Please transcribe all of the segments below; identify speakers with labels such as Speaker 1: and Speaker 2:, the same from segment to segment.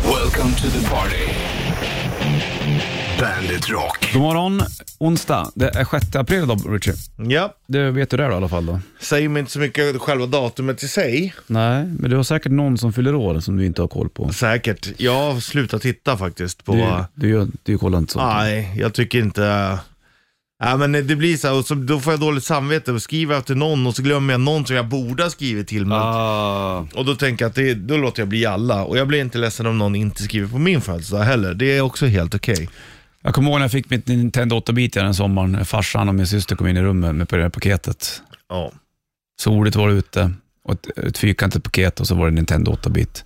Speaker 1: Welcome to the party. Bandit Rock.
Speaker 2: God morgon, onsdag. Det är 6 april då, Richard.
Speaker 3: Ja,
Speaker 2: Det vet du det då, i alla fall då?
Speaker 3: säger mig inte så mycket själva datumet i sig.
Speaker 2: Nej, men du har säkert någon som fyller år som du inte har koll på.
Speaker 3: Säkert. Jag har slutat titta faktiskt på...
Speaker 2: Du, du, gör- du kollar inte sånt.
Speaker 3: Nej, jag tycker inte... Nej men det blir så här, och så, då får jag dåligt samvete och skriver jag till någon och så glömmer jag någon som jag borde ha skrivit till mig.
Speaker 2: Ah.
Speaker 3: Och då tänker jag att det, då låter jag bli alla. Och jag blir inte ledsen om någon inte skriver på min födelsedag heller. Det är också helt okej.
Speaker 2: Jag kommer ihåg när jag fick mitt Nintendo 8-bit den sommaren. Farsan och min syster kom in i rummet med på det här paketet.
Speaker 3: Ja.
Speaker 2: Soligt var det ute och ett, ett fyrkantigt paket och så var det Nintendo 8-bit.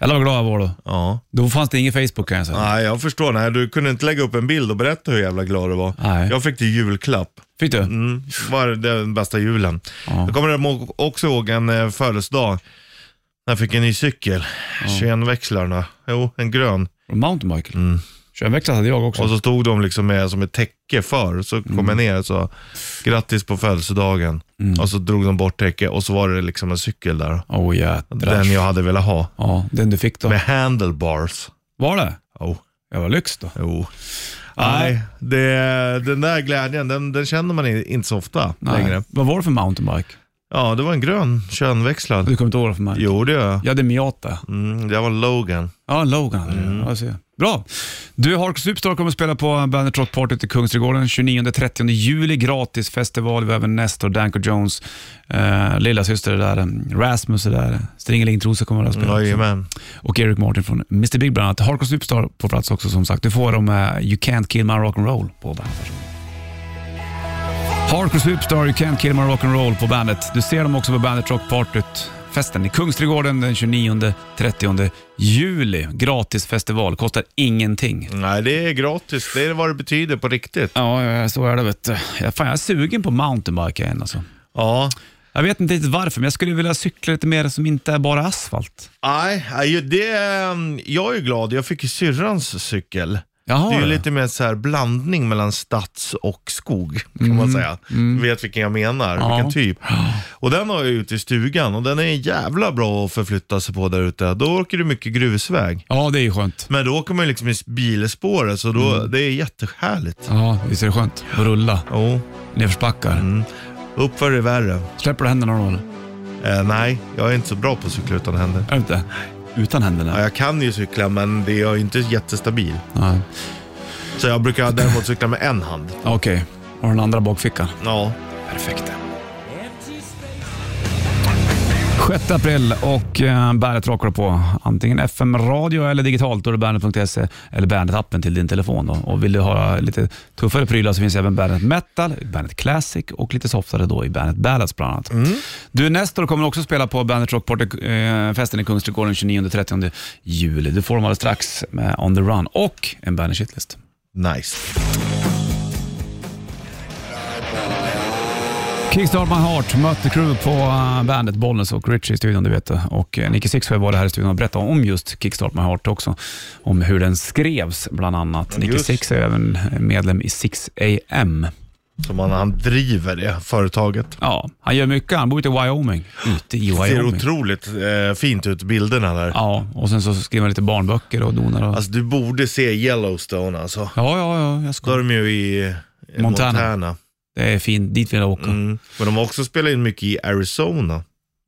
Speaker 2: Jävlar vad glad jag var då.
Speaker 3: ja.
Speaker 2: Då fanns det ingen Facebook kan jag säga.
Speaker 3: Nej, jag förstår. Nej, du kunde inte lägga upp en bild och berätta hur jävla glad du var.
Speaker 2: Nej.
Speaker 3: Jag fick det i julklapp.
Speaker 2: Fick du?
Speaker 3: Mm, var den bästa julen.
Speaker 2: Ja.
Speaker 3: Jag kommer ihåg- också ihåg en eh, födelsedag. När jag fick en ny cykel. 21-växlarna. Jo, en grön.
Speaker 2: Mountain Michael. Mm. 21-växlad hade jag också.
Speaker 3: Och så stod de liksom med, som ett täcke för. Så kom jag ner och sa grattis på födelsedagen. Och så drog de bort täcket och så var det liksom en cykel där.
Speaker 2: Åh jädrar.
Speaker 3: Den jag hade velat ha.
Speaker 2: Ja, den du fick då.
Speaker 3: Med handlebars.
Speaker 2: Var det?
Speaker 3: Jo,
Speaker 2: Jag var lyx då.
Speaker 3: jo. Nej, det, den där glädjen, den, den känner man i- inte så ofta längre.
Speaker 2: Vad var det för mountainbike?
Speaker 3: Ja, det var en grön 21-växlad.
Speaker 2: Du kommer inte ihåg det för mig?
Speaker 3: Jo, det gör jag.
Speaker 2: Jag hade Miata.
Speaker 3: Mm, det var Logan.
Speaker 2: Ja, Logan.
Speaker 3: Mm.
Speaker 2: Ja, ser jag. Bra. Du, Harkus Superstar kommer att spela på Bandet Rock Party i Kungsträdgården 29-30 juli. Gratis festival. Vi har även Nestor, Danko Jones, eh, lillasyster är där, eh, Rasmus är där, Stringeling Trosa kommer att spela också.
Speaker 3: Mm, Jajamän.
Speaker 2: och Eric Martin från Mr Big bland annat. Harkus Superstar på plats också som sagt. Du får dem med You Can't Kill My Rock'n'Roll på bandet. Harkus Superstar, You Can't Kill My Rock'n'Roll på bandet. Du ser dem också på bandet Rockpartyt. Festen i Kungsträdgården den 29-30 juli. Gratis festival, kostar ingenting.
Speaker 3: Nej, det är gratis. Det är vad det betyder på riktigt.
Speaker 2: Ja, ja, så är det vet du. Jag- Fan, jag är sugen på mountainbike igen alltså.
Speaker 3: Ja.
Speaker 2: Jag vet inte riktigt varför, men jag skulle vilja cykla lite mer som inte är bara asfalt.
Speaker 3: Nej, nej, det, ehm, jag är ju glad. Jag fick ju syrrans cykel.
Speaker 2: Jaha,
Speaker 3: Det är ju
Speaker 2: ja.
Speaker 3: lite mer så här blandning mellan stads och skog, kan man säga. Du vet vilken jag menar,
Speaker 2: Ja.
Speaker 3: vilken typ. Och den har jag ute i stugan och den är jävla bra att förflytta sig på där ute. Då åker du mycket grusväg.
Speaker 2: Ja, det är ju skönt.
Speaker 3: Men då åker man ju liksom i bilspåret, så då, det är jättehärligt.
Speaker 2: Ja, visst är det skönt att rulla
Speaker 3: Jo,
Speaker 2: nedförsbackar.
Speaker 3: uppför är värre.
Speaker 2: Släpper du händerna då? eller?
Speaker 3: Eh, nej, jag är inte så bra på att cykla utan händer.
Speaker 2: Är det inte? Utan händerna?
Speaker 3: Ja, jag kan ju cykla men det är jag är inte jättestabil.
Speaker 2: Nej.
Speaker 3: Så jag brukar däremot cykla med en hand.
Speaker 2: Okej, har den andra bakfickan?
Speaker 3: Ja.
Speaker 2: Perfekt. 6 april och eh, Bandet rockar på antingen FM-radio eller digitalt. Då är det bandet.se eller Bandet-appen till din telefon. Då. Och vill du ha lite tuffare prylar så finns även Bandet Metal, Bandet Classic och lite softare då i Bandet Ballads bland annat. Du, Nestor kommer också spela på Bandet Rockparty-festen i Kungsträdgården 29-30 juli. Du får dem alldeles strax med On the Run och en Bandet Shitlist.
Speaker 3: Nice.
Speaker 2: Kickstart My Heart mötte crew på eh, bandet Bollnäs och Richie i studion, du vet det. Och eh, Nicky Sixway var det här i studion och berättade om just Kickstart My Heart också. Om hur den skrevs bland annat. Nicky
Speaker 3: just.
Speaker 2: Six är även medlem i 6AM.
Speaker 3: Som han, han driver det företaget.
Speaker 2: Ja, han gör mycket. Han bor ute i Wyoming. Ute i
Speaker 3: Det ser
Speaker 2: Wyoming.
Speaker 3: otroligt eh, fint ut, bilderna där.
Speaker 2: Ja, och sen så skriver han lite barnböcker och donar. Och...
Speaker 3: Alltså du borde se Yellowstone alltså.
Speaker 2: Ja, ja, ja, jag
Speaker 3: Då är
Speaker 2: ska.
Speaker 3: de ju i eh,
Speaker 2: Montana.
Speaker 3: Montana.
Speaker 2: Det är fint. Dit vill jag åka.
Speaker 3: Mm. Men de har också spelat in mycket i Arizona.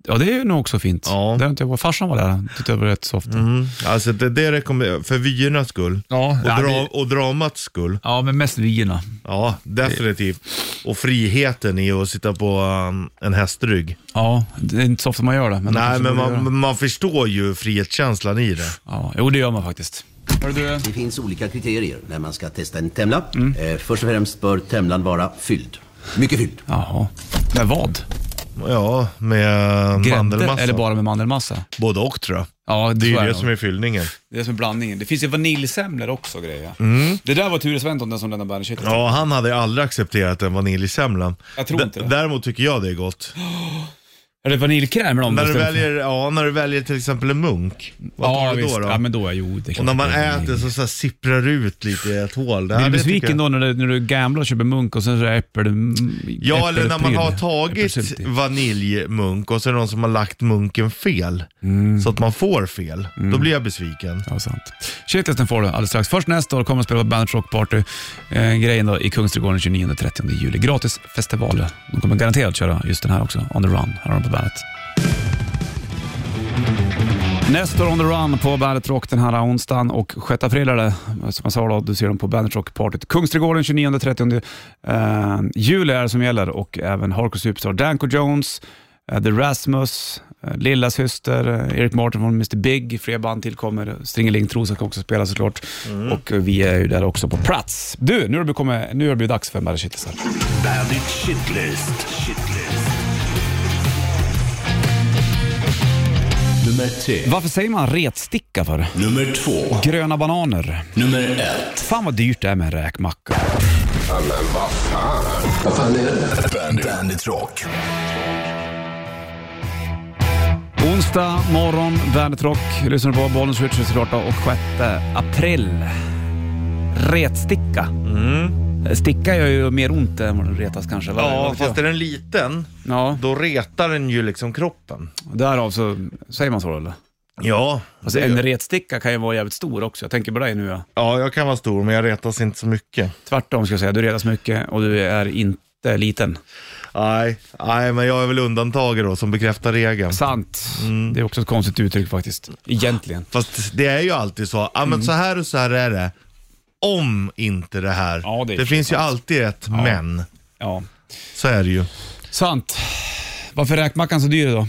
Speaker 2: Ja, det är ju nog också fint.
Speaker 3: Ja.
Speaker 2: Det har inte jag varit. Farsan var där. Han Tyckte det var rätt soft.
Speaker 3: Mm. Alltså det, det rekommenderar för vyernas skull.
Speaker 2: Ja,
Speaker 3: Och,
Speaker 2: ja,
Speaker 3: dra,
Speaker 2: men,
Speaker 3: och dramats skull.
Speaker 2: ja, men mest vyerna.
Speaker 3: Ja, definitivt. Och friheten i att sitta på um, en hästrygg.
Speaker 2: Ja, det är inte så ofta man gör det. Men det
Speaker 3: Nej,
Speaker 2: kanske
Speaker 3: men
Speaker 2: borde göra.
Speaker 3: man, man förstår ju frihetskänslan i det.
Speaker 2: Ja, jo det gör man faktiskt. Hör du,
Speaker 4: Det finns olika kriterier när man ska testa en Temla. Eh, först och främst bör Temlan vara fylld. Mycket fylld.
Speaker 2: Jaha. Med vad?
Speaker 3: Ja, med um,
Speaker 2: Grädde
Speaker 3: mandelmassa.
Speaker 2: eller bara med mandelmassa?
Speaker 3: Både och tror jag.
Speaker 2: Ja,
Speaker 3: Det är
Speaker 2: tror
Speaker 3: ju
Speaker 2: jag
Speaker 3: det
Speaker 2: nog.
Speaker 3: som är fyllningen.
Speaker 2: det är det som är blandningen. Det finns ju vaniljsemlor också och grejer. Det där var Ture Sventon, den som lämnade bandet ja.
Speaker 3: Ja, han hade aldrig accepterat en vaniljsemla.
Speaker 2: Jag tror
Speaker 3: D-
Speaker 2: inte det.
Speaker 3: Däremot tycker jag det är gott.
Speaker 2: Är det vaniljkräm eller om
Speaker 3: När du,
Speaker 2: istället för-
Speaker 3: väljer, ja, när du väljer till exempel en munk, vad tar
Speaker 2: ja,
Speaker 3: du då?
Speaker 2: visst.
Speaker 3: då?
Speaker 2: Ja, men då är jo, det är
Speaker 3: Och
Speaker 2: klart
Speaker 3: när man
Speaker 2: att det är-
Speaker 3: äter så, så här sipprar ut lite i ett hål. Det
Speaker 2: Blir
Speaker 3: här,
Speaker 2: du
Speaker 3: det tycker
Speaker 2: besviken
Speaker 3: jag-
Speaker 2: då när du, när du gamblar och köper munk och sen så är det äppel,
Speaker 3: Ja, eller när man
Speaker 2: äppelpryl,
Speaker 3: har tagit
Speaker 2: äppelsylt i?
Speaker 3: vaniljmunk och så är det någon som har lagt munken fel.
Speaker 2: Mm.
Speaker 3: Så att man får fel. Då blir jag besviken.
Speaker 2: Ja, sant. Shitlisten får du alldeles strax. Först nästa år kommer att spela på Bandit Rock Party. Eh, grejen då i Kungsträdgården 29-30 juli. Gratis festival. De kommer garanterat köra just den här också, On the Run. Här har de på Bandit. Nästa år On the Run på Bandet Rock den här onsdagen och 6 april är det, som jag sa då, du ser dem på Bandet Rock Partyt. Kungsträdgården 29-30 eh, juli är det som gäller och även Hardcore Superstar Danko Jones, eh, The Rasmus, eh, Lilla Syster, eh, Eric Martin från Mr Big, fler band tillkommer. Stringeling Trosa kan också spela såklart
Speaker 3: Mm.
Speaker 2: och eh, vi är ju där också på plats. Du, nu har det kommit, nu har det blivit dags för Bandit Shitlisten.
Speaker 1: Bandit Shitlist. Shitlist. Nummer tre.
Speaker 2: Varför säger man retsticka för?
Speaker 1: Nummer två.
Speaker 2: Gröna bananer.
Speaker 1: Nummer ett.
Speaker 2: Fan vad dyrt det är med en räkmacka.
Speaker 1: Bandit, Bandit Rock.
Speaker 2: Onsdag morgon, Bandet Rock. Lyssnar på Bollens Richards såklart då, och 6 april. Retsticka. Eh, Sticka gör ju mer ont än vad den retas kanske. eller? Vad
Speaker 3: Mm. Ja,
Speaker 2: vet
Speaker 3: fast
Speaker 2: jag?
Speaker 3: är den liten,
Speaker 2: ja,
Speaker 3: då retar den ju liksom kroppen.
Speaker 2: därav så säger man så eller?
Speaker 3: Ja,
Speaker 2: Alltså, en retsticka kan ju vara jävligt stor också. Jag tänker på dig nu. Ja.
Speaker 3: ja jag kan vara stor men jag retas inte så mycket.
Speaker 2: Tvärtom ska jag säga. Du retas mycket och du är inte liten.
Speaker 3: Nej, nej men jag är väl undantaget då som bekräftar regeln.
Speaker 2: Sant. Mm. Det är också ett konstigt uttryck faktiskt. Egentligen.
Speaker 3: Fast det är ju alltid så, ja
Speaker 2: Mm.
Speaker 3: men så här och så här är det. Om inte det här.
Speaker 2: Ja, det är
Speaker 3: det finns ju alltid ett men.
Speaker 2: Ja.
Speaker 3: Så är det ju.
Speaker 2: Sant. Varför är räkmackan så dyr då?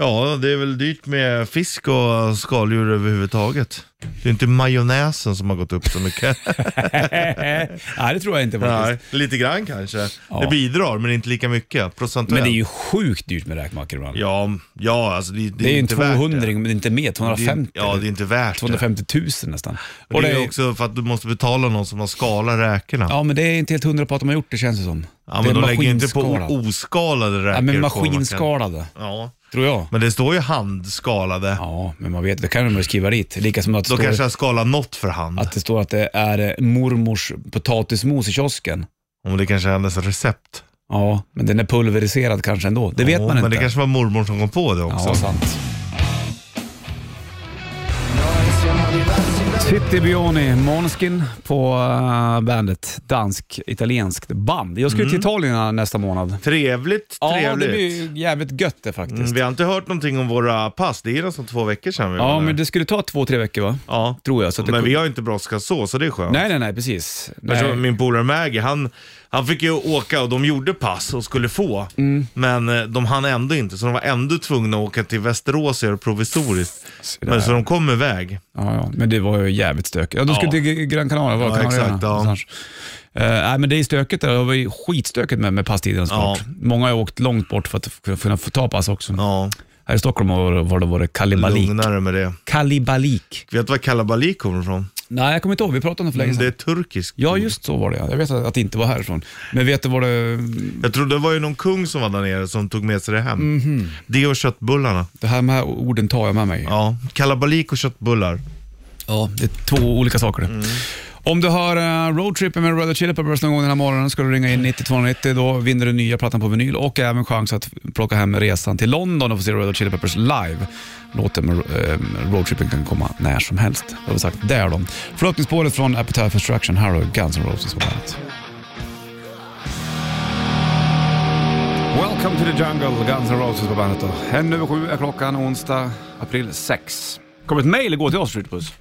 Speaker 3: Ja, det är väl dyrt med fisk och skaldjur överhuvudtaget. Det är inte majonnäsen som har gått upp så mycket.
Speaker 2: Nej, det tror jag inte faktiskt.
Speaker 3: Nej, lite grann kanske.
Speaker 2: Ja.
Speaker 3: Det bidrar, men inte lika mycket procentuellt.
Speaker 2: Men det är ju sjukt dyrt med räkmackor ibland.
Speaker 3: Ja, ja alltså det, det,
Speaker 2: det är ju en
Speaker 3: inte värt
Speaker 2: 200 men det är inte mer,
Speaker 3: det. det.
Speaker 2: 250.
Speaker 3: är- Ja, det är inte värt det.
Speaker 2: 250 000 nästan.
Speaker 3: Och det är
Speaker 2: ju-
Speaker 3: också för att du måste betala någon som har skalat räkorna. Ja,
Speaker 2: Ja, men det är inte helt hundra på att de har gjort det känns det som. det
Speaker 3: men de lägger ju inte på
Speaker 2: maskinskalad.
Speaker 3: oskalade räkor.
Speaker 2: Ja, men
Speaker 3: på vad man kan-
Speaker 2: maskinskalade,
Speaker 3: Ja,
Speaker 2: tror jag.
Speaker 3: men det står ju handskalade.
Speaker 2: Ja, men man vet, det kan de väl skriva dit. Lika som att det,
Speaker 3: Då kanske
Speaker 2: står,
Speaker 3: jag skalar något för hand.
Speaker 2: att det står att det är eh, mormors potatismos i kiosken.
Speaker 3: Om det kanske är hennes recept.
Speaker 2: Ja, men den är pulveriserad kanske ändå. Det vet
Speaker 3: Ja,
Speaker 2: man
Speaker 3: men
Speaker 2: inte.
Speaker 3: det kanske var mormor som kom på det också.
Speaker 2: Ja, sant. Titti Bioni, Måneskin på eh, bandet. Dansk-italienskt band. Jag ska ju till Italien nästa månad.
Speaker 3: Trevligt,
Speaker 2: Ja, det
Speaker 3: Mm. trevligt.
Speaker 2: blir ju jävligt gött det faktiskt.
Speaker 3: Mm, Vi har inte hört någonting om våra pass. Det är ju nästan två veckor sedan vi
Speaker 2: Ja,
Speaker 3: var där.
Speaker 2: men det skulle ta två, tre veckor va?
Speaker 3: ja.
Speaker 2: Tror jag. Så att det...
Speaker 3: men vi har ju inte brådskat så, så det är skönt.
Speaker 2: Nej, nej, nej, precis.
Speaker 3: Men så
Speaker 2: Nej.
Speaker 3: Min polare Maggie, han, han fick ju åka och de gjorde pass och skulle få.
Speaker 2: Mm.
Speaker 3: Men eh, de hann ändå inte, så de var ändå tvungna att åka till Västerås och göra provisoriskt.
Speaker 2: där.
Speaker 3: Men så de kom iväg.
Speaker 2: Ja, ja, men det var ju jävligt stökigt. Ja, de skulle
Speaker 3: Ja.
Speaker 2: till Gran Canaria, var
Speaker 3: Ja, exakt, ja.
Speaker 2: Nej, men det är stökigt där. Det var ju skitstökigt med, med passtiderna såklart.
Speaker 3: Ja.
Speaker 2: Många har ju åkt långt bort för att f- kunna få ta pass också.
Speaker 3: Ja,
Speaker 2: Här i Stockholm var, var det, var det kalibalik.
Speaker 3: lugnare med det.
Speaker 2: Kalibalik.
Speaker 3: Vet du var kalabalik kommer ifrån?
Speaker 2: Nej, jag kommer inte ihåg. Vi pratade om det för länge
Speaker 3: Mm, Det
Speaker 2: sedan.
Speaker 3: är turkiskt.
Speaker 2: Ja, just så var det. ja. Jag vet att att det inte var härifrån. Men vet du vad det...
Speaker 3: Jag tror det var ju någon kung som var där nere som tog med sig det hem.
Speaker 2: Mhm.
Speaker 3: Det och köttbullarna.
Speaker 2: Det här med orden tar jag med mig.
Speaker 3: Ja, kalabalik och köttbullar.
Speaker 2: Ja, det är två olika saker. det. Om du har uh, roadtrippen med Red Hot Chili Peppers någon gång den här morgonen ska du ringa in 9290. Då vinner du nya plattan på vinyl och även chans att plocka hem resan till London och få se Red Hot Chili Peppers live. Låten med eh, roadtrippen kan komma när som helst. Det har vi sagt där då. Förlossningsspåret från Appetite for Destruction, här har du Guns N' Roses på bandet. Welcome to the jungle, Guns N' Roses på bandet då. En över sju är klockan onsdag, april 6. Kommer ett mejl igår till oss, Ritpuss?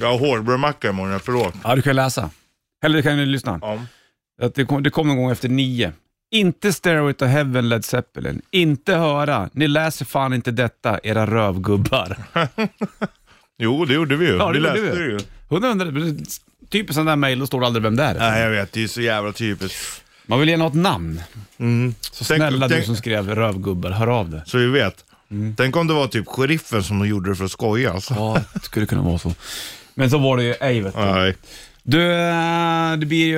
Speaker 3: Jag har hårdbrödmacka imorgon, jag förlåt.
Speaker 2: Ja, du kan läsa. Eller du kan ju lyssna.
Speaker 3: Ja.
Speaker 2: Att det, kom, det kom någon gång efter nio. Inte Stairway to Heaven Led Zeppelin. Inte höra. Ni läser fan inte detta, era rövgubbar.
Speaker 3: Jo, det gjorde vi ju.
Speaker 2: Ja, det
Speaker 3: vi
Speaker 2: gjorde
Speaker 3: läste
Speaker 2: vi.
Speaker 3: det ju.
Speaker 2: Hundra, hundra, typiskt typ sån där mejl, då står det aldrig vem det är.
Speaker 3: Nej, jag vet. Det är ju så jävla typiskt.
Speaker 2: Man vill gärna ha ett namn.
Speaker 3: Så
Speaker 2: Snälla du som Mm. skrev rövgubbar, hör av dig.
Speaker 3: Så vi vet. Tänk om det var typ sheriffen som gjorde det för att skoja. Alltså.
Speaker 2: Ja, det skulle kunna vara så. Men så var det ju ej vet du.
Speaker 3: Nej.
Speaker 2: Du, eh, det blir ju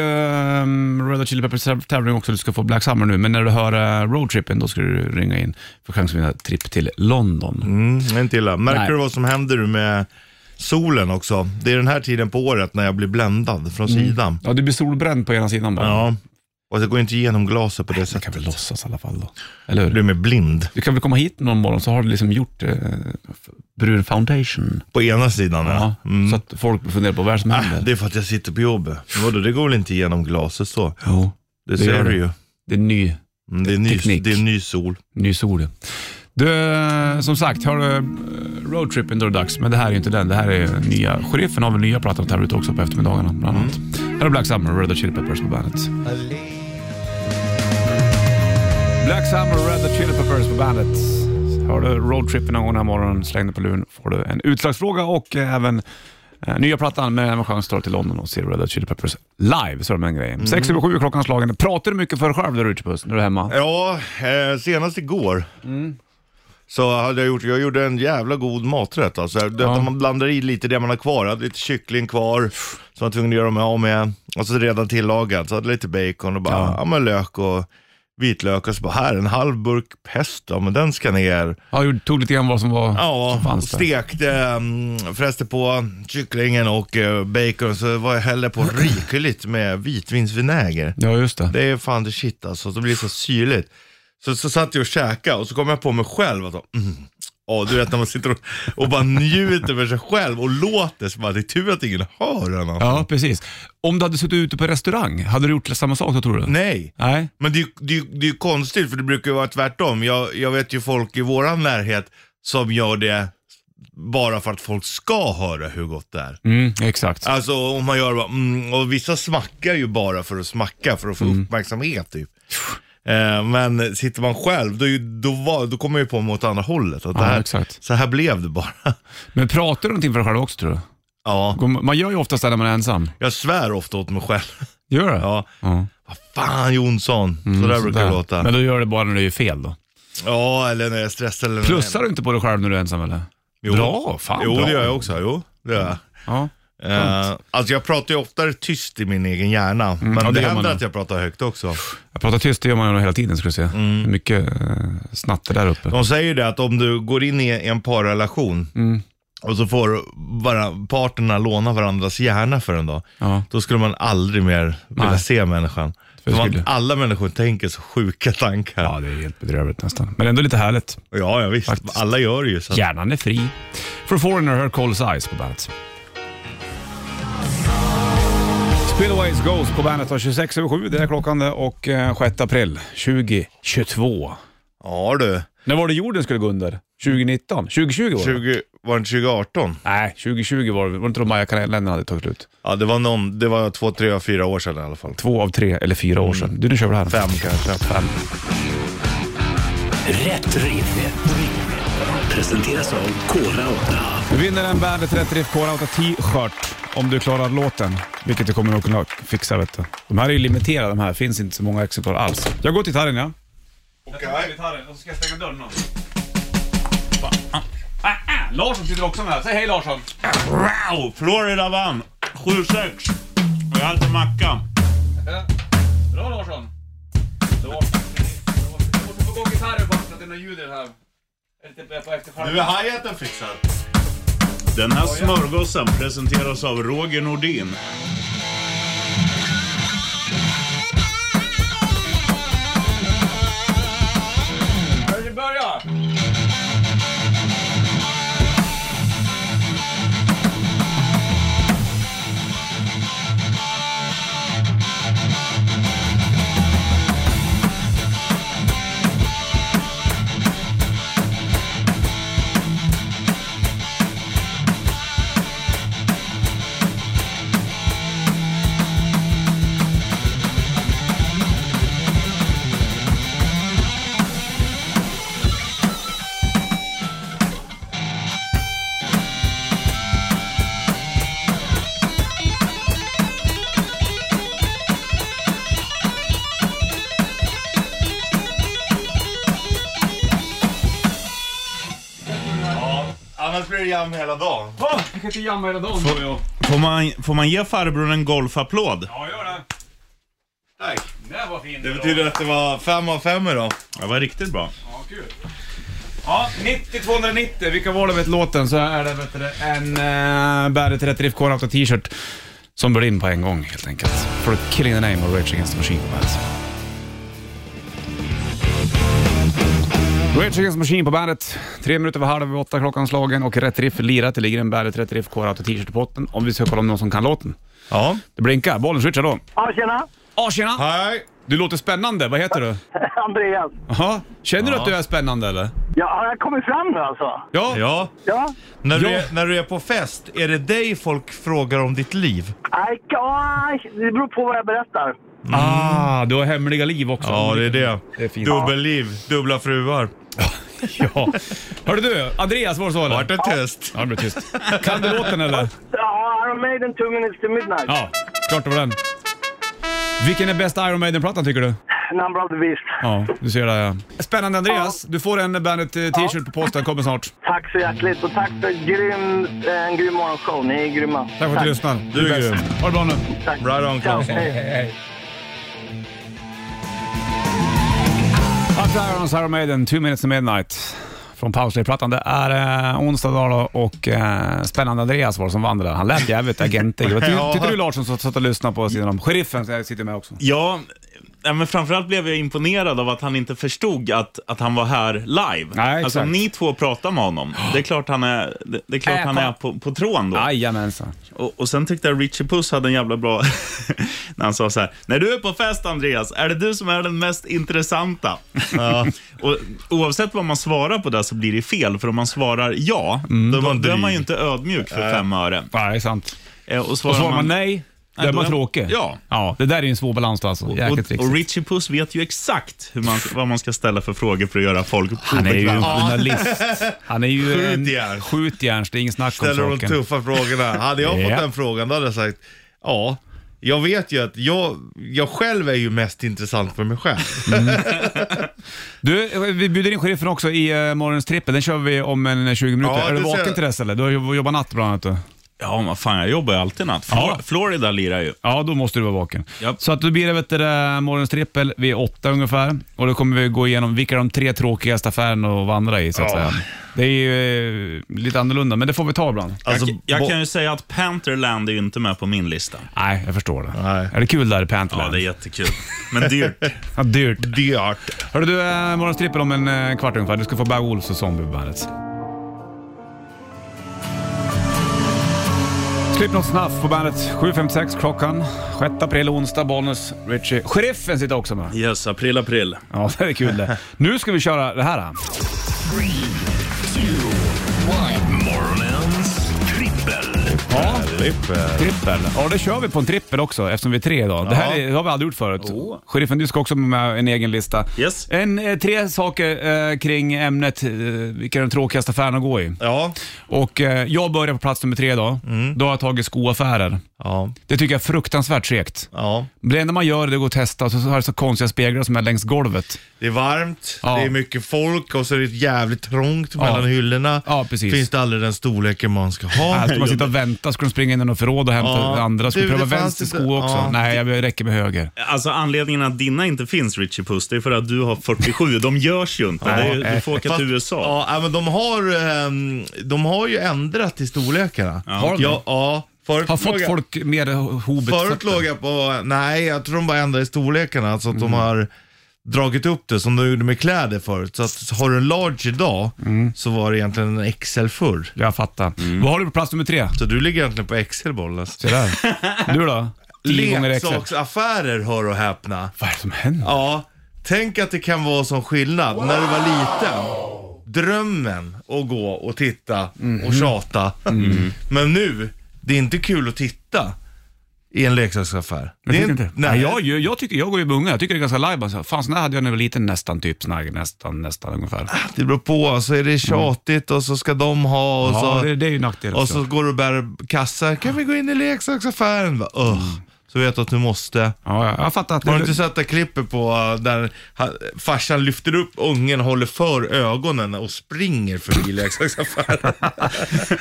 Speaker 2: um, Red Hot Chili Peppers tävling också, du ska få Black Summer nu, men när du hör uh, Roadtrippen, då ska du ringa in för chans att vinna tripp till London.
Speaker 3: Mm, det är inte illa. Märker
Speaker 2: Nej.
Speaker 3: du vad som händer med solen också? Det är den här tiden på året när jag blir bländad
Speaker 2: Mm.
Speaker 3: från sidan.
Speaker 2: Ja, du blir solbränd på ena sidan bara.
Speaker 3: Ja, och det går inte igenom glaset på det
Speaker 2: Du kan
Speaker 3: sättet.
Speaker 2: väl låtsas i alla fall då, eller
Speaker 3: Jag blir
Speaker 2: hur?
Speaker 3: mer blind
Speaker 2: Du kan väl komma hit någon morgon så har du liksom gjort eh, f- brun foundation.
Speaker 3: på ena sidan. Ja. mm.
Speaker 2: Ja,
Speaker 3: Ah,
Speaker 2: Så att folk funderar på vad som händer.
Speaker 3: Det är för att jag sitter på jobbet. Vadå, det går väl inte igenom glaset så?
Speaker 2: Jo,
Speaker 3: Det,
Speaker 2: gör
Speaker 3: ser
Speaker 2: det.
Speaker 3: du ju.
Speaker 2: det är ny,
Speaker 3: Mm, Det är, ny,
Speaker 2: Teknik.
Speaker 3: det är ny sol.
Speaker 2: ny sol. Du, eh, som sagt, har du eh, roadtrippen då är det dags. Men det här är ju inte den. Det här är nya. Sheriffen har väl nya plattor att ta ut också på eftermiddagarna bland annat. Här är Black Summer, Red Hot Chili Peppers på bandet. Black Summer, Red Hot Chili Peppers på bandet. Har du roadtrippen någon gång den här morgonen, släng dig på luren får du en utslagsfråga och eh, även eh, nya plattan med även chans att ta dig till London och se Red Hot Chili Peppers live. Så är det med den grejen. Sex över sju är klockan slagen. Pratar du mycket för dig själv där ute Puss, när du är hemma?
Speaker 3: Ja, eh, senast igår
Speaker 2: Mm.
Speaker 3: så hade jag gjort, jag gjorde en jävla god maträtt alltså. Det,
Speaker 2: Ja.
Speaker 3: att Man blandar i lite det man har kvar, jag hade lite kyckling kvar som jag var tvungen att göra mig av med. Och så redan tillagad, så hade jag lite bacon och bara, ja. men lök och vitlök och så bara, här en halv burk pesto, men den ska ner.
Speaker 2: Ja, jag tog lite grann vad som var
Speaker 3: Ja,
Speaker 2: som fanns där.
Speaker 3: stekte, mm, fräste på kycklingen och eh, bacon, så var jag hällde på rikligt med vitvinsvinäger.
Speaker 2: Ja, just det.
Speaker 3: Det är fan det shit alltså, så blir det så syrligt. Så, så satt jag och käkade och så kom jag på mig själv att mm, ja, du vet när man sitter och, och bara njuter med sig själv och låter som att det är tur att ingen hör en. alltså.
Speaker 2: Ja, precis. Om du hade suttit ute på restaurang, hade du gjort samma sak då tror du?
Speaker 3: Nej.
Speaker 2: Nej.
Speaker 3: Men det, är ju- det, är ju- det är ju konstigt för det brukar ju vara tvärtom. Jag, jag vet ju folk i våran närhet som gör det bara för att folk ska höra hur gott det är.
Speaker 2: Mm, exakt.
Speaker 3: Alltså om man gör bara, mm, och vissa smackar ju bara för att smacka, för att få
Speaker 2: Mm.
Speaker 3: uppmärksamhet typ. Eh, men sitter man själv, då, är ju- då, var, då kommer jag ju på mig åt andra hållet. Att det
Speaker 2: Ja,
Speaker 3: här,
Speaker 2: exakt.
Speaker 3: Så här blev det bara.
Speaker 2: Men pratar du någonting för dig själv också tror du?
Speaker 3: ja,
Speaker 2: Går- Man gör ju oftast det när man är ensam.
Speaker 3: jag svär ofta åt mig själv.
Speaker 2: Gör du?
Speaker 3: Ja.
Speaker 2: Ja.
Speaker 3: Vad fan Jonsson, så där brukar det
Speaker 2: Mm, Sådär.
Speaker 3: låta.
Speaker 2: Men då gör du det bara när det är fel då.
Speaker 3: Ja, eller när jag är stressad. Eller när
Speaker 2: Plussar du inte på dig själv när du är ensam eller?
Speaker 3: Jo.
Speaker 2: Bra, fan
Speaker 3: Jo,
Speaker 2: bra.
Speaker 3: det gör jag också. Jo, det gör jag.
Speaker 2: Ja.
Speaker 3: Eh, alltså jag pratar ju oftare tyst i min egen hjärna, men
Speaker 2: Mm. ja, det
Speaker 3: det,
Speaker 2: gör man
Speaker 3: händer
Speaker 2: nog.
Speaker 3: att jag pratar högt också.
Speaker 2: Jag pratar tyst, det gör man ju hela tiden skulle jag säga.
Speaker 3: Mm.
Speaker 2: Det är Mycket eh, snatte där uppe.
Speaker 3: De säger ju det att om du går in i en parrelation och så får vara, parterna låna varandras hjärna för en dag.
Speaker 2: Ja.
Speaker 3: Då skulle man aldrig mer vilja
Speaker 2: Nej.
Speaker 3: se människan. För
Speaker 2: det
Speaker 3: man,
Speaker 2: skulle-
Speaker 3: alla människor tänker så sjuka tankar.
Speaker 2: Ja,
Speaker 3: Ja,
Speaker 2: det är helt bedrövligt nästan. Men ändå lite härligt.
Speaker 3: ja, visst.
Speaker 2: Faktiskt.
Speaker 3: Alla gör det ju. Så att,
Speaker 2: Hjärnan är fri. For Foreigner hör Coles Eyes på bandet. Spillways Goes på bandet var 26 över 7, det är klockan det, och eh, 6 april 2022.
Speaker 3: ja du.
Speaker 2: När var det jorden skulle gå under? 2019? 2020 var det?
Speaker 3: 20, var det 2018?
Speaker 2: Nej, 2020 var det Var det inte då Maya-kalendern hade tagit slut?
Speaker 3: Ja, det var någon, det var två, tre, fyra år sedan i alla fall.
Speaker 2: Två av tre eller fyra år sedan. Du, nu kör vi det här.
Speaker 3: Fem kanske.
Speaker 2: Fem.
Speaker 1: Rätt riff. Presenteras av Kora 8.
Speaker 2: Du vinner en Bandet Rätt Riff Core Outta T-shirt om du klarar låten, vilket du kommer att kunna fixa. Vet du. De här är ju limiterade, de här. finns inte så många exemplar alls. Jag går till gitarren, ja. gitarren och så ska jag stänga dörren. Larsson sitter också med här. Säg hej Larsson!
Speaker 5: Wow! Florida vann. 7-6. Och jag hade macka.
Speaker 2: Bra Larsson! Du måste få gå gitarren bara så att det är något ljud i det här. Lite på efterskärmen.
Speaker 3: Nu är hi-haten fixad.
Speaker 5: Den här smörgåsen presenteras av Roger Nordin.
Speaker 2: Vi börjar!
Speaker 3: jam hela dagen.
Speaker 2: Åh, jag kan inte jamma hela dagen.
Speaker 5: Får man, får man ge farbrorn en golfapplåd?
Speaker 2: Ja, gör det.
Speaker 3: Tack.
Speaker 2: Det där var fint.
Speaker 3: Det betyder att det var fem av fem idag.
Speaker 5: Det var riktigt bra.
Speaker 2: Ja, kul. Ja, 90-290. Vilka var det vet låten? Så är det vet du, det, en uh, Bandet Rätt Riff Core Auto t-shirt som blir in på en gång helt enkelt. För Killing the Name och Rage Against the Machine på bandet. Rage Against the Machine på bandet. Tre minuter över halv åtta klockan slagen och Rätt Riff lirat. Det ligger en Bandet Rätt Riff Core Auto t-shirt på botten om vi ska kolla om någon som kan låten.
Speaker 3: Ja.
Speaker 2: Det blinkar. Bollen switchar då.
Speaker 6: Ja, tjena!
Speaker 2: Ja, tjena!
Speaker 3: Hej.
Speaker 2: Du låter spännande. Vad heter du?
Speaker 6: Andreas.
Speaker 2: Jaha. Känner du att du är spännande eller?
Speaker 6: Ja, har jag kommit fram nu alltså?
Speaker 3: Ja.
Speaker 6: Ja.
Speaker 3: När du,
Speaker 2: Ja.
Speaker 3: Är, när du är på fest, är det dig folk frågar om ditt liv?
Speaker 6: Nej, ja, det beror på vad jag berättar.
Speaker 2: Ah, du har hemliga liv också.
Speaker 3: Ja, det är det.
Speaker 2: Det är fint.
Speaker 3: Dubbelliv, dubbla fruar.
Speaker 2: Ja. Hörru du, Andreas var det så eller?
Speaker 3: Vart det tyst?
Speaker 2: Ja, det blev tyst. Kan du låten eller?
Speaker 6: Ja, Iron Maiden, Two Minutes to Midnight.
Speaker 2: Ja, klart det var den. Vilken är bästa Iron Maiden-plattan tycker du?
Speaker 6: Number of the Beast.
Speaker 2: Ja, du ser det ja. Spännande Andreas, du får en Bandet eh, t-shirt på posten, kommer snart.
Speaker 6: Tack så hjärtligt och tack för grym, eh, en grym morgonshow. Ni är grymma.
Speaker 2: Tack för att du lyssnar.
Speaker 3: Du är
Speaker 2: bäst.
Speaker 3: grym.
Speaker 2: Ha det bra nu.
Speaker 6: Tack.
Speaker 3: Right on,
Speaker 6: Ciao,
Speaker 3: Karlsson.
Speaker 6: hej.
Speaker 2: Up Irons, Iron Maiden, Two Minutes to Midnight. Från Powerslay-plattan. Det är eh, onsdag idag då och eh, spännande Andreas var det som vann det där. Han lät jävligt agentig. Det var ty-
Speaker 3: Ja.
Speaker 2: Tyckte du Larsson som satt och lyssnade på sidan om? Sheriffen som jag sitter med också.
Speaker 5: Ja, nej, men framförallt blev jag imponerad av att han inte förstod att, att han var här live.
Speaker 2: Nej,
Speaker 5: alltså
Speaker 2: exakt.
Speaker 5: ni två pratar med honom. Det är klart han är, det, det är, klart
Speaker 2: Äh,
Speaker 5: han
Speaker 2: fan.
Speaker 5: är på, på trån då.
Speaker 2: Jajamensan.
Speaker 5: Och, och sen tyckte jag Richie Puss hade en jävla bra... när han sa så här. När du är på fest, Andreas, är det du som är den mest intressanta? och, oavsett vad man svarar på det så blir det fel, för om man svarar ja, Mm. då,
Speaker 3: var en
Speaker 5: då är man
Speaker 3: dryg.
Speaker 5: ju inte ödmjuk för fem öre.
Speaker 2: Ja, det är sant.
Speaker 5: Eh, Och svarar,
Speaker 2: Och svarar man
Speaker 5: man
Speaker 2: nej, då
Speaker 5: då
Speaker 2: är man
Speaker 5: är-
Speaker 2: tråkig.
Speaker 5: Ja.
Speaker 2: ja. Det där är ju en svår balans då alltså.
Speaker 5: Och,
Speaker 2: Jäkligt
Speaker 5: och
Speaker 2: trixigt.
Speaker 5: Richie Puss vet ju exakt hur man, vad man ska ställa för frågor för att göra folk
Speaker 2: Han är ju en
Speaker 5: obekväma.
Speaker 2: journalist. Han är ju
Speaker 3: Skjut
Speaker 2: en
Speaker 3: järn.
Speaker 2: skjutjärns, det är ingen snack om
Speaker 3: Ställer de
Speaker 2: saken.
Speaker 3: tuffa frågorna. Hade jag
Speaker 2: Ja.
Speaker 3: fått den frågan då hade jag sagt ja. Jag vet ju att jag, jag själv är ju mest intressant för mig själv.
Speaker 2: Du, eh, vi bjuder in sheriffen också i eh, morgonens trippel. Den kör vi om en eh, 20 minuter. är
Speaker 3: Ja,
Speaker 2: du
Speaker 3: det ser
Speaker 2: vaken
Speaker 3: jag.
Speaker 2: till dess eller? Du har ju- jobbat natt bland annat du.
Speaker 5: Ja, men fan, jag jobbar ju alltid natt. Flor-
Speaker 2: Ja.
Speaker 5: Florida lirar ju.
Speaker 2: Ja, då måste du vara vaken.
Speaker 5: Japp.
Speaker 2: Så att då blir det vet du, det, morgonens trippel vid åtta ungefär. Och då kommer vi gå igenom vilka de tre tråkigaste affärerna att vandra i så att
Speaker 3: Ja.
Speaker 2: säga. Det är ju eh, lite annorlunda, men det får vi ta ibland.
Speaker 3: Alltså,
Speaker 5: jag, jag
Speaker 3: bo-
Speaker 5: kan ju säga att Pantherland är ju inte med på min lista.
Speaker 2: Nej, jag förstår det.
Speaker 3: Nej.
Speaker 2: Är det kul där i
Speaker 5: Ja,
Speaker 2: Pantland?
Speaker 5: det är jättekul. Men dyrt.
Speaker 2: Ja, dyrt.
Speaker 3: Dyrt.
Speaker 2: Hörru du, eh, morgonens trippel om en eh, kvart ungefär. Du ska få Bag Wolves och Zombie på bandet. Slipknot Snuff på bandet. 7.56 klockan. 6 april, onsdag, bonus. Richie. Sheriffen sitter också med.
Speaker 5: Yes, april, april.
Speaker 2: Ja, det är kul det. Nu ska vi köra det här.
Speaker 1: Morgonens trippel.
Speaker 2: Ja,
Speaker 3: Trippel.
Speaker 2: trippel. Ja, det kör vi på en trippel också eftersom vi är tre idag. Det här
Speaker 3: Ja.
Speaker 2: är, det har vi aldrig gjort förut. Sheriffen, du ska också med en egen lista.
Speaker 5: Yes.
Speaker 2: En, eh, tre saker eh, kring ämnet, eh, vilka är de tråkigaste affärerna att gå i?
Speaker 3: Ja.
Speaker 2: Och eh, jag börjar på plats nummer tre idag.
Speaker 3: Mm.
Speaker 2: Då har jag tagit skoaffärer.
Speaker 3: Ja.
Speaker 2: Det tycker jag är fruktansvärt segt.
Speaker 3: Ja.
Speaker 2: Det enda man gör är att gå och testa och så har det så konstiga speglar som är längs golvet.
Speaker 3: Det är varmt,
Speaker 2: Ja.
Speaker 3: det är mycket folk och så är det jävligt trångt mellan hyllorna.
Speaker 2: Ja, precis.
Speaker 3: Finns det aldrig den storleken man ska ha?
Speaker 2: Här ska Äh, man sitta och vänta, ska de springa in i något förråd och hämta
Speaker 3: Ja.
Speaker 2: andra. Ska
Speaker 3: Du,
Speaker 2: vi pröva
Speaker 3: det fanns
Speaker 2: vänster
Speaker 3: inte-
Speaker 2: sko också?
Speaker 3: ja.
Speaker 2: Nej, jag räcker med höger.
Speaker 5: Alltså anledningen att dina inte finns, Richie Puss, det är för att du har 47. De görs ju inte. Det är, du får åka
Speaker 3: Fast-
Speaker 5: till USA.
Speaker 3: Ja, ja, men de har, ehm, de har ju ändrat i storlekarna. Ja,
Speaker 2: Har de?
Speaker 3: ja, förut
Speaker 2: Har fått
Speaker 3: låg jag-
Speaker 2: folk mer hobet
Speaker 3: Förut låg jag på, nej jag tror de bara ändrade i storlekarna, alltså att
Speaker 2: Mm.
Speaker 3: de har dragit upp det som de gjorde med kläder förut. Så att har du en large idag
Speaker 2: Mm.
Speaker 3: så var det egentligen en XL förr.
Speaker 2: Jag fattar. Vad har du på plats nummer tre?
Speaker 3: Så du ligger egentligen på XL-boll alltså.
Speaker 2: Se där. Du då? Tio gånger XL.
Speaker 3: Leksaksaffärer hör och häpna.
Speaker 2: Vad är det som händer?
Speaker 3: Ja, tänk att det kan vara sån skillnad. När du var liten, drömmen att gå och titta och tjata. Men nu, det är inte kul att titta i en leksaksaffär.
Speaker 2: Jag
Speaker 3: Det är
Speaker 2: tycker inte.
Speaker 3: Nej,
Speaker 2: Nej, jag, jag, jag, tycker, jag går ju med unga. Jag tycker det är ganska live. Alltså, Fan, sån här hade jag när jag var liten. Nästan typ. Sån här, nästan, nästan ungefär.
Speaker 3: Det beror på, så är det tjatigt och så ska de ha och
Speaker 2: Ja,
Speaker 3: så...
Speaker 2: det, det är ju nackdel
Speaker 3: Och
Speaker 2: också.
Speaker 3: så går du och bär kassar. Kan vi gå in i leksaksaffären? Va, Ugh. så vet du att du måste
Speaker 2: Ja, ja, jag fattar. att
Speaker 3: har du
Speaker 2: det-
Speaker 3: inte sett det klippet på äh, där ha- farsan lyfter upp ungen, håller för ögonen och springer förbi leksaksaffären?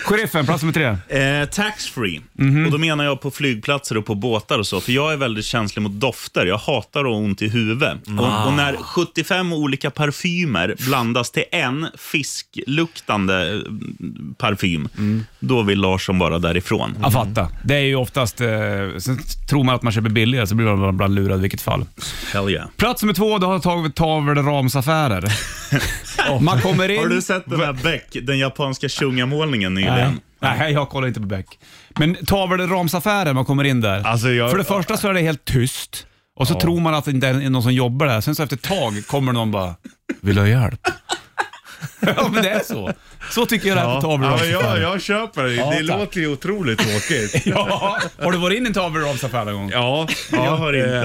Speaker 2: Sheriffen, plats nummer
Speaker 3: Mm.
Speaker 2: tre.
Speaker 5: Eh, Taxfree.
Speaker 3: Mhm.
Speaker 5: Och då menar jag på flygplatser och på båtar och så. För jag är väldigt känslig mot dofter. Jag hatar att ha ont i huvudet.
Speaker 3: Ah.
Speaker 5: Och, och när 75 olika parfymer blandas till en fiskluktande eh, parfym,
Speaker 3: Mm.
Speaker 5: då vill Larsson bara därifrån.
Speaker 2: Jag fattar. Det är ju oftast... Eh, sen tror man att man köper billigare så blir man ibland lurad i vilket fall.
Speaker 5: Hell yeah.
Speaker 2: Plats nummer två, då har jag tagit tavelramsaffärer. Man kommer in...
Speaker 5: Har du sett den här Beck, den japanska tjungamålningen
Speaker 2: Nej.
Speaker 5: nyligen?
Speaker 2: Nej, jag kollar inte på Beck. Men tavelramsaffären, man kommer in där.
Speaker 3: Alltså, jag-
Speaker 2: För det första så är det helt tyst. Och så tror man att det inte är någon som jobbar där. Sen så efter ett tag kommer någon bara, vill du ha hjälp? ja, men det är så. Så tycker jag det är på
Speaker 3: ja, men jag,
Speaker 2: tavelramsaffären.
Speaker 3: jag köper det. det
Speaker 2: tack.
Speaker 3: låter ju otroligt tråkigt.
Speaker 2: Ja, har du varit in i en tavelramsaffär någon gång?
Speaker 3: ja,
Speaker 5: Jag har inte.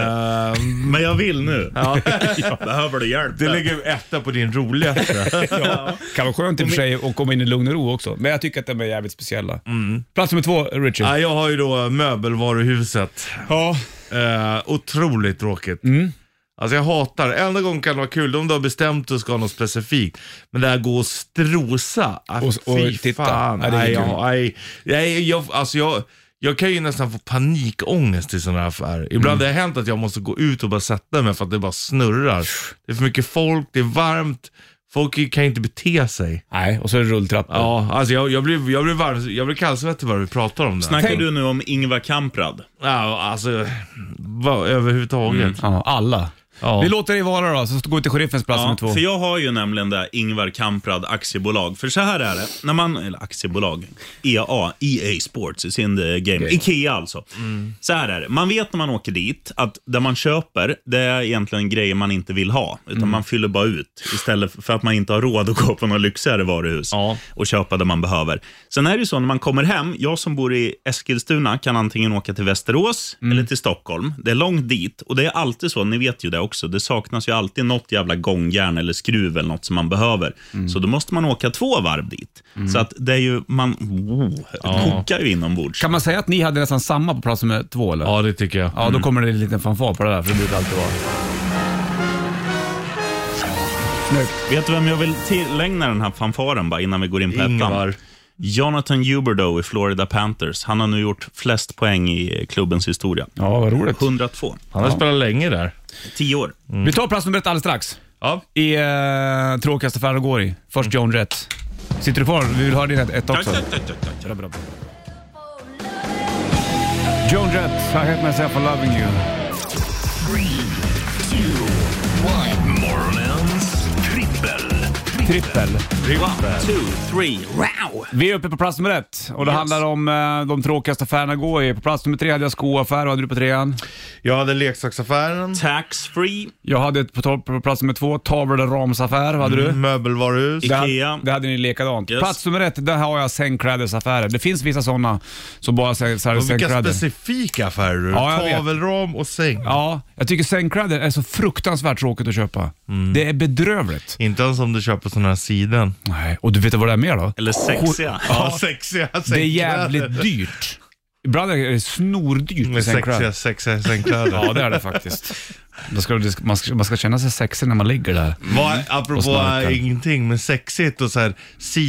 Speaker 3: Ehm,
Speaker 5: Men jag vill nu. Behöver du hjälp?
Speaker 3: det ligger etta på din roligaste.
Speaker 2: Kan vara skönt i och för sig att komma in i lugn och ro också, men jag tycker att de är jävligt speciella. Plats nummer två, Richard.
Speaker 3: ja, jag har ju då möbelvaruhuset.
Speaker 2: Ja.
Speaker 3: Eh, otroligt tråkigt.
Speaker 2: Mm.
Speaker 3: Alltså jag hatar det. Enda gången kan det vara kul om du har bestämt dig ska ha något specifikt. Men det här gå och strosa. Ah,
Speaker 2: Och- och
Speaker 3: fy
Speaker 2: titta.
Speaker 3: Fan.
Speaker 2: Ja, det är
Speaker 3: Nej,
Speaker 2: kul.
Speaker 3: jag, nej, nej, jag, alltså jag, jag kan ju nästan få panikångest i sådana här affärer.
Speaker 2: Mm.
Speaker 3: Ibland har det hänt att jag måste gå ut och bara sätta mig för att det bara snurrar. Det är för mycket folk, det är varmt. Folk kan ju inte bete sig.
Speaker 2: Nej, och så är det rulltrappor.
Speaker 3: Ja, alltså jag, jag blir, jag blir, varm, jag blir kallsvettig bara vi pratar om det. här.
Speaker 5: Snackar du nu om Ingvar Kamprad?
Speaker 3: Ja, alltså, vad, överhuvudtaget.
Speaker 2: Ja, alla.
Speaker 3: Ja.
Speaker 2: Mm. Vi låter dig vara då, så går vi till sheriffens plats nummer två.
Speaker 5: För jag har ju nämligen det Ingvar Kamprad aktiebolag. För så här är det, när man, eller aktiebolag, E EA, EA Sports is in the game. Ikea alltså. Så här är det, man vet när man åker dit att det man köper, det är egentligen grejer man inte vill ha. Utan man fyller bara ut istället för att man inte har råd att gå på något lyxigare varuhus
Speaker 3: Ja.
Speaker 5: och köpa det man behöver. Sen är det ju så när man kommer hem, jag som bor i Eskilstuna kan antingen åka till Västerås
Speaker 2: Mm.
Speaker 5: eller till Stockholm. Det är långt dit och det är alltid så, ni vet ju det också, det saknas ju alltid något jävla gångjärn eller skruv eller något som man behöver.
Speaker 2: Mm.
Speaker 5: Så då måste man åka två varv dit. Så att det är ju, man oh, kokar ju inombords.
Speaker 2: Kan man säga att ni hade nästan samma på plats nummer två eller?
Speaker 3: Ja, det tycker jag.
Speaker 2: Ja, då kommer det en liten fanfar på det där, för det brukar alltid vara.
Speaker 5: Vet du vem jag vill tillägna den här fanfaren bara innan vi går in på
Speaker 3: Ingvar.
Speaker 5: ettan? Jonathan Huberdeau i Florida Panthers. Han har nu gjort flest poäng i klubbens historia.
Speaker 2: Ja, vad roligt.
Speaker 5: 102.
Speaker 3: Han har spelat länge där.
Speaker 5: 10 år.
Speaker 2: Vi tar plats nummer ett alldeles strax.
Speaker 3: Ja.
Speaker 2: I eh, tråkigaste affären att gå i. Först John Rätt. Sitter du kvar? Vi vill höra din ett, ett också. Bra, bra, bra. Joan Jett, I hate myself for loving you.
Speaker 1: Morgonens trippel.
Speaker 2: Trippel.
Speaker 5: One, two, three, wow!
Speaker 2: Vi är uppe på plats nummer ett och det
Speaker 5: Yes.
Speaker 2: handlar om eh, de tråkigaste affärerna att gå i. På plats nummer tre hade jag skoaffär, vad hade du på trean?
Speaker 3: Jag hade leksaksaffären,
Speaker 5: Taxfree,
Speaker 2: Jag hade ett på, to- på plats nummer två, tavel och ramsaffär, vad hade
Speaker 3: Mm.
Speaker 2: du?
Speaker 3: möbelvaruhus.
Speaker 2: Det, ha-
Speaker 5: Ikea.
Speaker 2: det hade ni likadant.
Speaker 5: Yes.
Speaker 2: Plats nummer ett, där har jag sängklädesaffärer. Det finns vissa sådana som bara säljer säljer
Speaker 3: Och vilka
Speaker 2: sängkläder.
Speaker 3: specifika affärer du
Speaker 2: Ja, jag vet.
Speaker 3: Tavelram och säng.
Speaker 2: Ja, jag tycker sängkläder är så fruktansvärt tråkigt att köpa. Det är bedrövligt.
Speaker 3: Inte ens om du köper sådana här siden.
Speaker 2: Nej, och du vet vad det är mer då?
Speaker 5: eller sexiga.
Speaker 3: Ja, sexiga sängkläder.
Speaker 2: Det är jävligt dyrt. Ibland är det snordyrt med
Speaker 3: Med
Speaker 2: sängkläder.
Speaker 3: sexiga, sexiga sängkläder.
Speaker 2: Ja, det är det faktiskt. Då ska, det ska- man, ska, man ska känna sig sexig när man ligger där.
Speaker 3: Vad,
Speaker 2: Och
Speaker 3: apropå
Speaker 2: snarkar.
Speaker 3: äh, ingenting, men sexigt och så här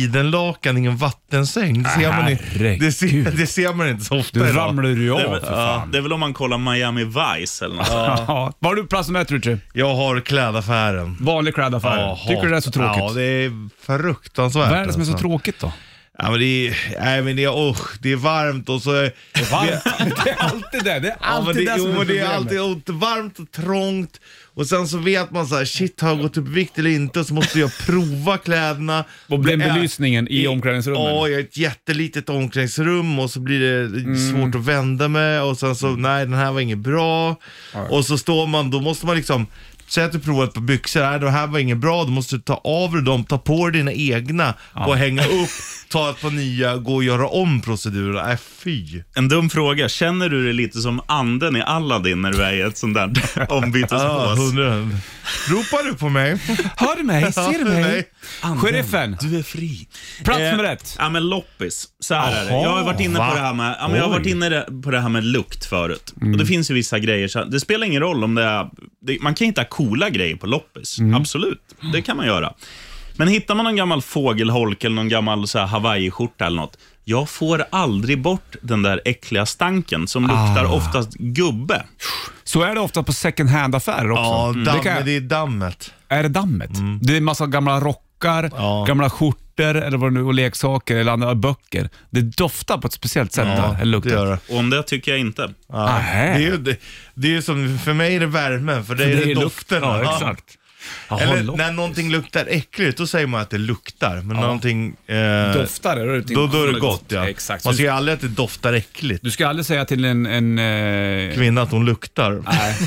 Speaker 3: sidenlakan, ingen vattensäng. Det ser, man, i,
Speaker 2: Herregud.
Speaker 3: det ser, det ser man inte så ofta
Speaker 2: Du
Speaker 3: idag.
Speaker 2: ramlar ju av
Speaker 5: Det är,
Speaker 2: för
Speaker 5: väl,
Speaker 2: fan.
Speaker 5: det är väl om man kollar Miami Vice eller något. sånt.
Speaker 2: Ja. Var du plats nummer ett, Richie?
Speaker 3: Jag har klädaffären.
Speaker 2: Vanlig klädaffär.
Speaker 3: Ja,
Speaker 2: Tycker du det är
Speaker 3: hat-
Speaker 2: så tråkigt?
Speaker 3: Ja, det är fruktansvärt.
Speaker 2: Vad är det som är så
Speaker 3: alltså.
Speaker 2: tråkigt då?
Speaker 3: Ja, men det är, nej, men det är, usch, det är varmt och så är
Speaker 2: Varmt. Det är alltid det. Det är
Speaker 3: Ja, men det,
Speaker 2: alltid det som
Speaker 3: jo,
Speaker 2: är
Speaker 3: men det är alltid
Speaker 2: problemet.
Speaker 3: ont, varmt och trångt. Och sen så vet man så här, shit har jag gått upp i vikt eller inte? Och så måste jag prova kläderna.
Speaker 2: Och den
Speaker 3: Det är-
Speaker 2: belysningen i omklädningsrummen.
Speaker 3: Ja, jag har ett jättelitet omklädningsrum och så blir det svårt
Speaker 2: Mm.
Speaker 3: att vända mig och sen så, nej den här var inget bra. Och så står man, då måste man liksom, säg att du provar ett par byxor, nej det här var inget bra, då måste du ta av dig dem, ta på dig dina egna och hänga upp, ta ett par nya, gå och göra om proceduren. Nej fy.
Speaker 5: En dum fråga, känner du dig lite som anden i Aladdin när du är i ett sånt där ombytespås?
Speaker 3: hundra. Ropar du på mig?
Speaker 2: Hör du mig? Ser du mig?
Speaker 3: Nej.
Speaker 2: Sheriffen,
Speaker 5: Du är fri.
Speaker 2: plats nummer ett.
Speaker 5: Ja, men loppis. Så här är det.
Speaker 2: Jaha,
Speaker 5: Jag har varit inne
Speaker 3: va?
Speaker 5: på det här med, ja, men jag har varit
Speaker 2: Oj.
Speaker 5: inne på det här med lukt förut. Och Det finns ju vissa grejer. Så det spelar ingen roll om det är... Det, man kan hitta coola grejer på loppis. Absolut, det kan man göra. Men hittar man någon gammal fågelholk eller någon gammal så här hawaiiskjorta eller något. Jag får aldrig bort den där äckliga stanken som luktar oftast gubbe.
Speaker 2: Så är det ofta på second hand-affärer också. Mm.
Speaker 3: Ja, damm,
Speaker 2: det kan,
Speaker 3: det är dammet.
Speaker 2: Är det dammet? Det är en massa gamla rockar,
Speaker 3: Ja.
Speaker 2: gamla skjortor eller vad det nu, och leksaker eller andra böcker. Det doftar på ett speciellt sätt där. eller luktar.
Speaker 3: det gör det.
Speaker 5: Och om det tycker jag inte.
Speaker 3: Ja.
Speaker 2: Nähä.
Speaker 3: Det är ju det, det är ju som, för mig är det värmen, för dig är det, doften.
Speaker 2: Ja,
Speaker 3: Ja.
Speaker 2: exakt. Jaha,
Speaker 3: Eller
Speaker 2: lock-
Speaker 3: när någonting luktar äckligt, då säger man att det luktar. Men någonting... Eh,
Speaker 2: doftar det. Då, är det
Speaker 3: då, då är det gott ja.
Speaker 2: Exakt.
Speaker 3: Man
Speaker 2: Så
Speaker 3: säger aldrig att det doftar äckligt.
Speaker 2: Du ska aldrig säga till en... en eh,
Speaker 3: Kvinna att hon luktar.
Speaker 2: Nej.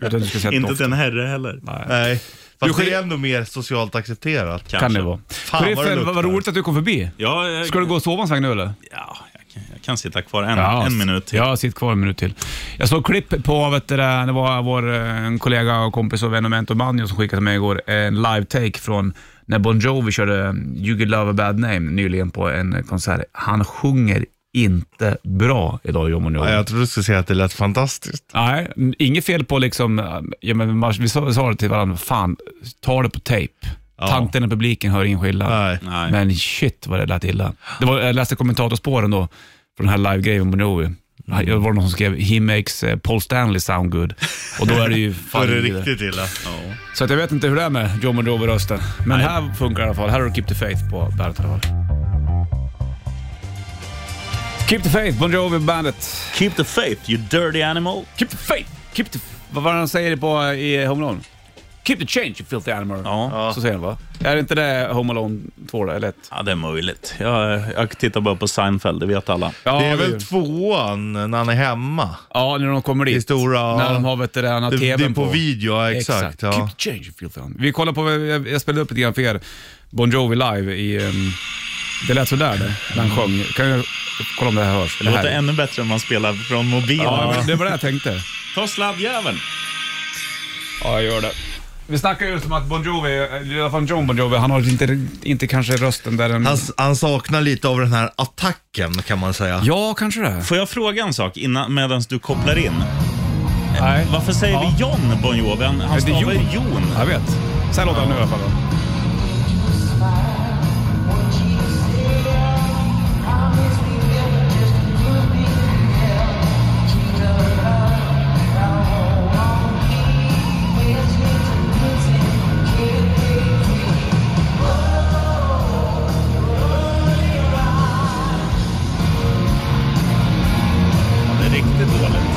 Speaker 2: Utan du ska säga
Speaker 5: Inte
Speaker 2: doft.
Speaker 5: till en herre heller.
Speaker 3: Nej. Fast
Speaker 2: Du
Speaker 3: det
Speaker 2: sker-
Speaker 3: är ändå mer socialt accepterat.
Speaker 5: Kanske.
Speaker 2: Kan det vara.
Speaker 3: vad det
Speaker 2: Sheriffen, vad, vad
Speaker 3: luktar.
Speaker 2: roligt att du kom förbi.
Speaker 5: Ja, jag,
Speaker 2: Ska du gå och sova en sväng nu eller?
Speaker 5: ja, jag, kan, jag kan sitta kvar en, en minut till.
Speaker 2: Ja, sitt kvar en minut till. Jag såg klipp på, vet du, det det var vår eh, en kollega och kompis och vän och mentor Manjo som skickade till mig igår en live-take från när Bon Jovi körde eh, You could love a bad name nyligen på en konsert. Han sjunger inte bra idag, John Bon Jovi.
Speaker 3: Nej, jag trodde du skulle säga att det lät fantastiskt.
Speaker 2: Nej, n- inget fel på liksom, äh, ja, men mars- vi sa, vi sa det till varandra, fan, ta det på tejp. Tanten i publiken hör ingen skillnad.
Speaker 3: Nej.
Speaker 5: Nej.
Speaker 2: Men shit vad det lät illa. Det var, jag läste kommentatorspåren då, från den här live-grejen med Bonovi.
Speaker 3: Mm.
Speaker 2: Det var någon som skrev “He makes eh, Paul Stanley sound good” och då är det ju
Speaker 3: Då
Speaker 2: fan
Speaker 3: är det
Speaker 2: illa.
Speaker 3: riktigt illa.
Speaker 2: Så att jag vet inte hur det är med John Bonovi-rösten. Men här funkar det i alla fall. Här har du Keep the Faith på bandet. Keep the Faith, Bon Jovi bandet.
Speaker 5: Keep the faith, you dirty animal.
Speaker 2: Keep the faith! Keep the... Vad var det han säger på, eh, i Home Alone? Keep the change you filthy animal.
Speaker 5: Ja.
Speaker 2: Så säger han va? Är inte det Home Alone 2 då, eller 1?
Speaker 5: Ja, det är möjligt. Jag, jag tittar bara på Seinfeld, det vet alla.
Speaker 2: Ja,
Speaker 3: Det är
Speaker 2: ju-
Speaker 3: väl tvåan när han är hemma.
Speaker 2: Ja, när de kommer dit.
Speaker 3: Det stora-
Speaker 2: när de har vet du, det, han har
Speaker 3: Det, det
Speaker 2: TVn
Speaker 3: är på video, ja, exakt.
Speaker 2: Exakt.
Speaker 3: Ja.
Speaker 2: Keep the change you filthy animal. Vi kollar på, jag, jag spelade upp lite grann för er, Bon Jovi live i... ehm, det lät sådär det, när han sjöng. Kan jag kolla om det här hörs?
Speaker 5: Det
Speaker 2: här.
Speaker 5: låter ännu bättre om man spelar från mobilen.
Speaker 2: Ja, men det var det jag tänkte.
Speaker 5: Ta sladdjäveln.
Speaker 2: Ja, jag gör det. Vi snackar just om att Bon Jovi, eller i alla fall John Bon Jovi, han har inte, inte kanske rösten där den...
Speaker 3: Han, han saknar lite av den här attacken kan man säga.
Speaker 2: Ja, kanske det.
Speaker 5: Får jag fråga en sak innan, medan du kopplar in?
Speaker 2: Nej.
Speaker 5: Varför säger
Speaker 2: Ja.
Speaker 5: vi John Bon Jovi? Han- Han
Speaker 2: det är
Speaker 5: stavar ju
Speaker 2: Jon.
Speaker 5: Jon.
Speaker 2: Jag vet. Så här låter han nu i alla fall.
Speaker 5: Det är riktigt dåligt.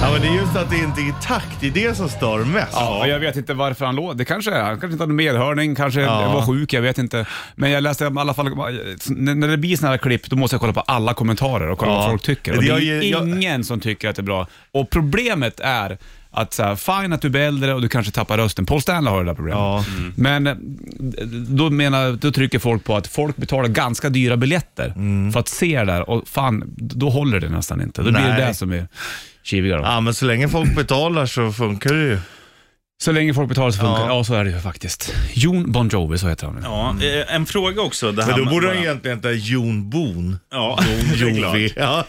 Speaker 3: Ja, men det är just att det inte är i takt, det är det som stör mest.
Speaker 2: Ja, och jag vet inte varför han låg. Det kanske är, han kanske inte hade medhörning, kanske var sjuk, jag vet inte. Men jag läste i alla fall, när när det blir sådana här klipp, då måste jag kolla på alla kommentarer och kolla
Speaker 3: Ja.
Speaker 2: vad folk tycker. Och det
Speaker 3: Det-
Speaker 2: är
Speaker 3: jag-
Speaker 2: ingen som tycker att det är bra. Och problemet är att så här, fine att du blir äldre och du kanske tappar rösten. Paul Stanley har det där problemet.
Speaker 3: Ja.
Speaker 2: Men eh, då, menar, då trycker folk på att folk betalar ganska dyra biljetter
Speaker 3: Mm.
Speaker 2: för att se det där och fan, då håller det nästan inte. Då blir det
Speaker 3: Nej.
Speaker 2: det som är kivigare. då.
Speaker 3: Ja, men så länge folk betalar så funkar det ju.
Speaker 2: Så länge folk betalar så funkar det.
Speaker 3: Ja.
Speaker 2: Ja, så är det ju faktiskt. Jon Bon Jovi, så heter han. nu.
Speaker 5: Ja, eh, en fråga också. Det här
Speaker 3: Men då
Speaker 5: med
Speaker 3: borde
Speaker 5: bara-
Speaker 3: han egentligen heta Jon Bon.
Speaker 5: Ja, det är klart.
Speaker 3: Jovi. Ja.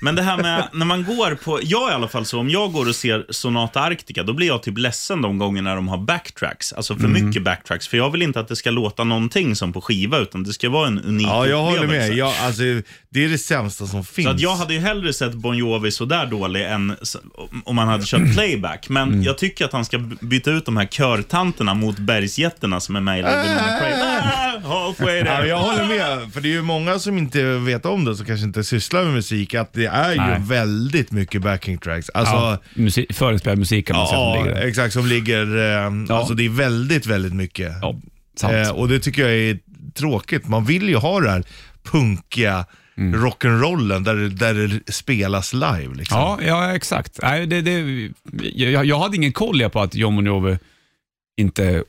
Speaker 5: Men det här med när man går på, jag i alla fall så, om jag går och ser Sonata Arctica, då blir jag typ ledsen de gånger när de har backtracks. Alltså för
Speaker 3: Mm.
Speaker 5: mycket backtracks, för jag vill inte att det ska låta någonting som på skiva, utan det ska vara en unik
Speaker 3: ja, jag håller med.
Speaker 5: upplevelse.
Speaker 3: Jag, alltså, det är det sämsta som finns.
Speaker 5: Så att jag hade ju hellre sett Bon Jovi sådär dålig än s- om- om han hade kört playback. Men
Speaker 3: Mm.
Speaker 5: jag tycker att han ska b- byta ut de här körtanterna mot bergsjätterna som är med i Lebanon Pray. Ah, Halfway
Speaker 3: Ja, men
Speaker 5: there.
Speaker 3: jag håller med, för det är ju många som inte vet om det, som kanske inte sysslar med musik, att det är ju
Speaker 2: Nej.
Speaker 3: väldigt mycket backing tracks. Alltså,
Speaker 2: Ja, musi- Förinspelad musik kan man säga
Speaker 3: Ja,
Speaker 2: att det ligger där.
Speaker 3: exakt. Som ligger... Eh, Alltså det är väldigt, väldigt mycket.
Speaker 2: Ja, sant.
Speaker 3: Eh, och det tycker jag är tråkigt. Man vill ju ha det här punkiga
Speaker 2: Mm.
Speaker 3: rock'n'rollen där, det- där det spelas live. Liksom.
Speaker 2: Ja, ja, exakt. Nej, det, det, jag, jag hade ingen koll jag på att John Bon Jovi inte...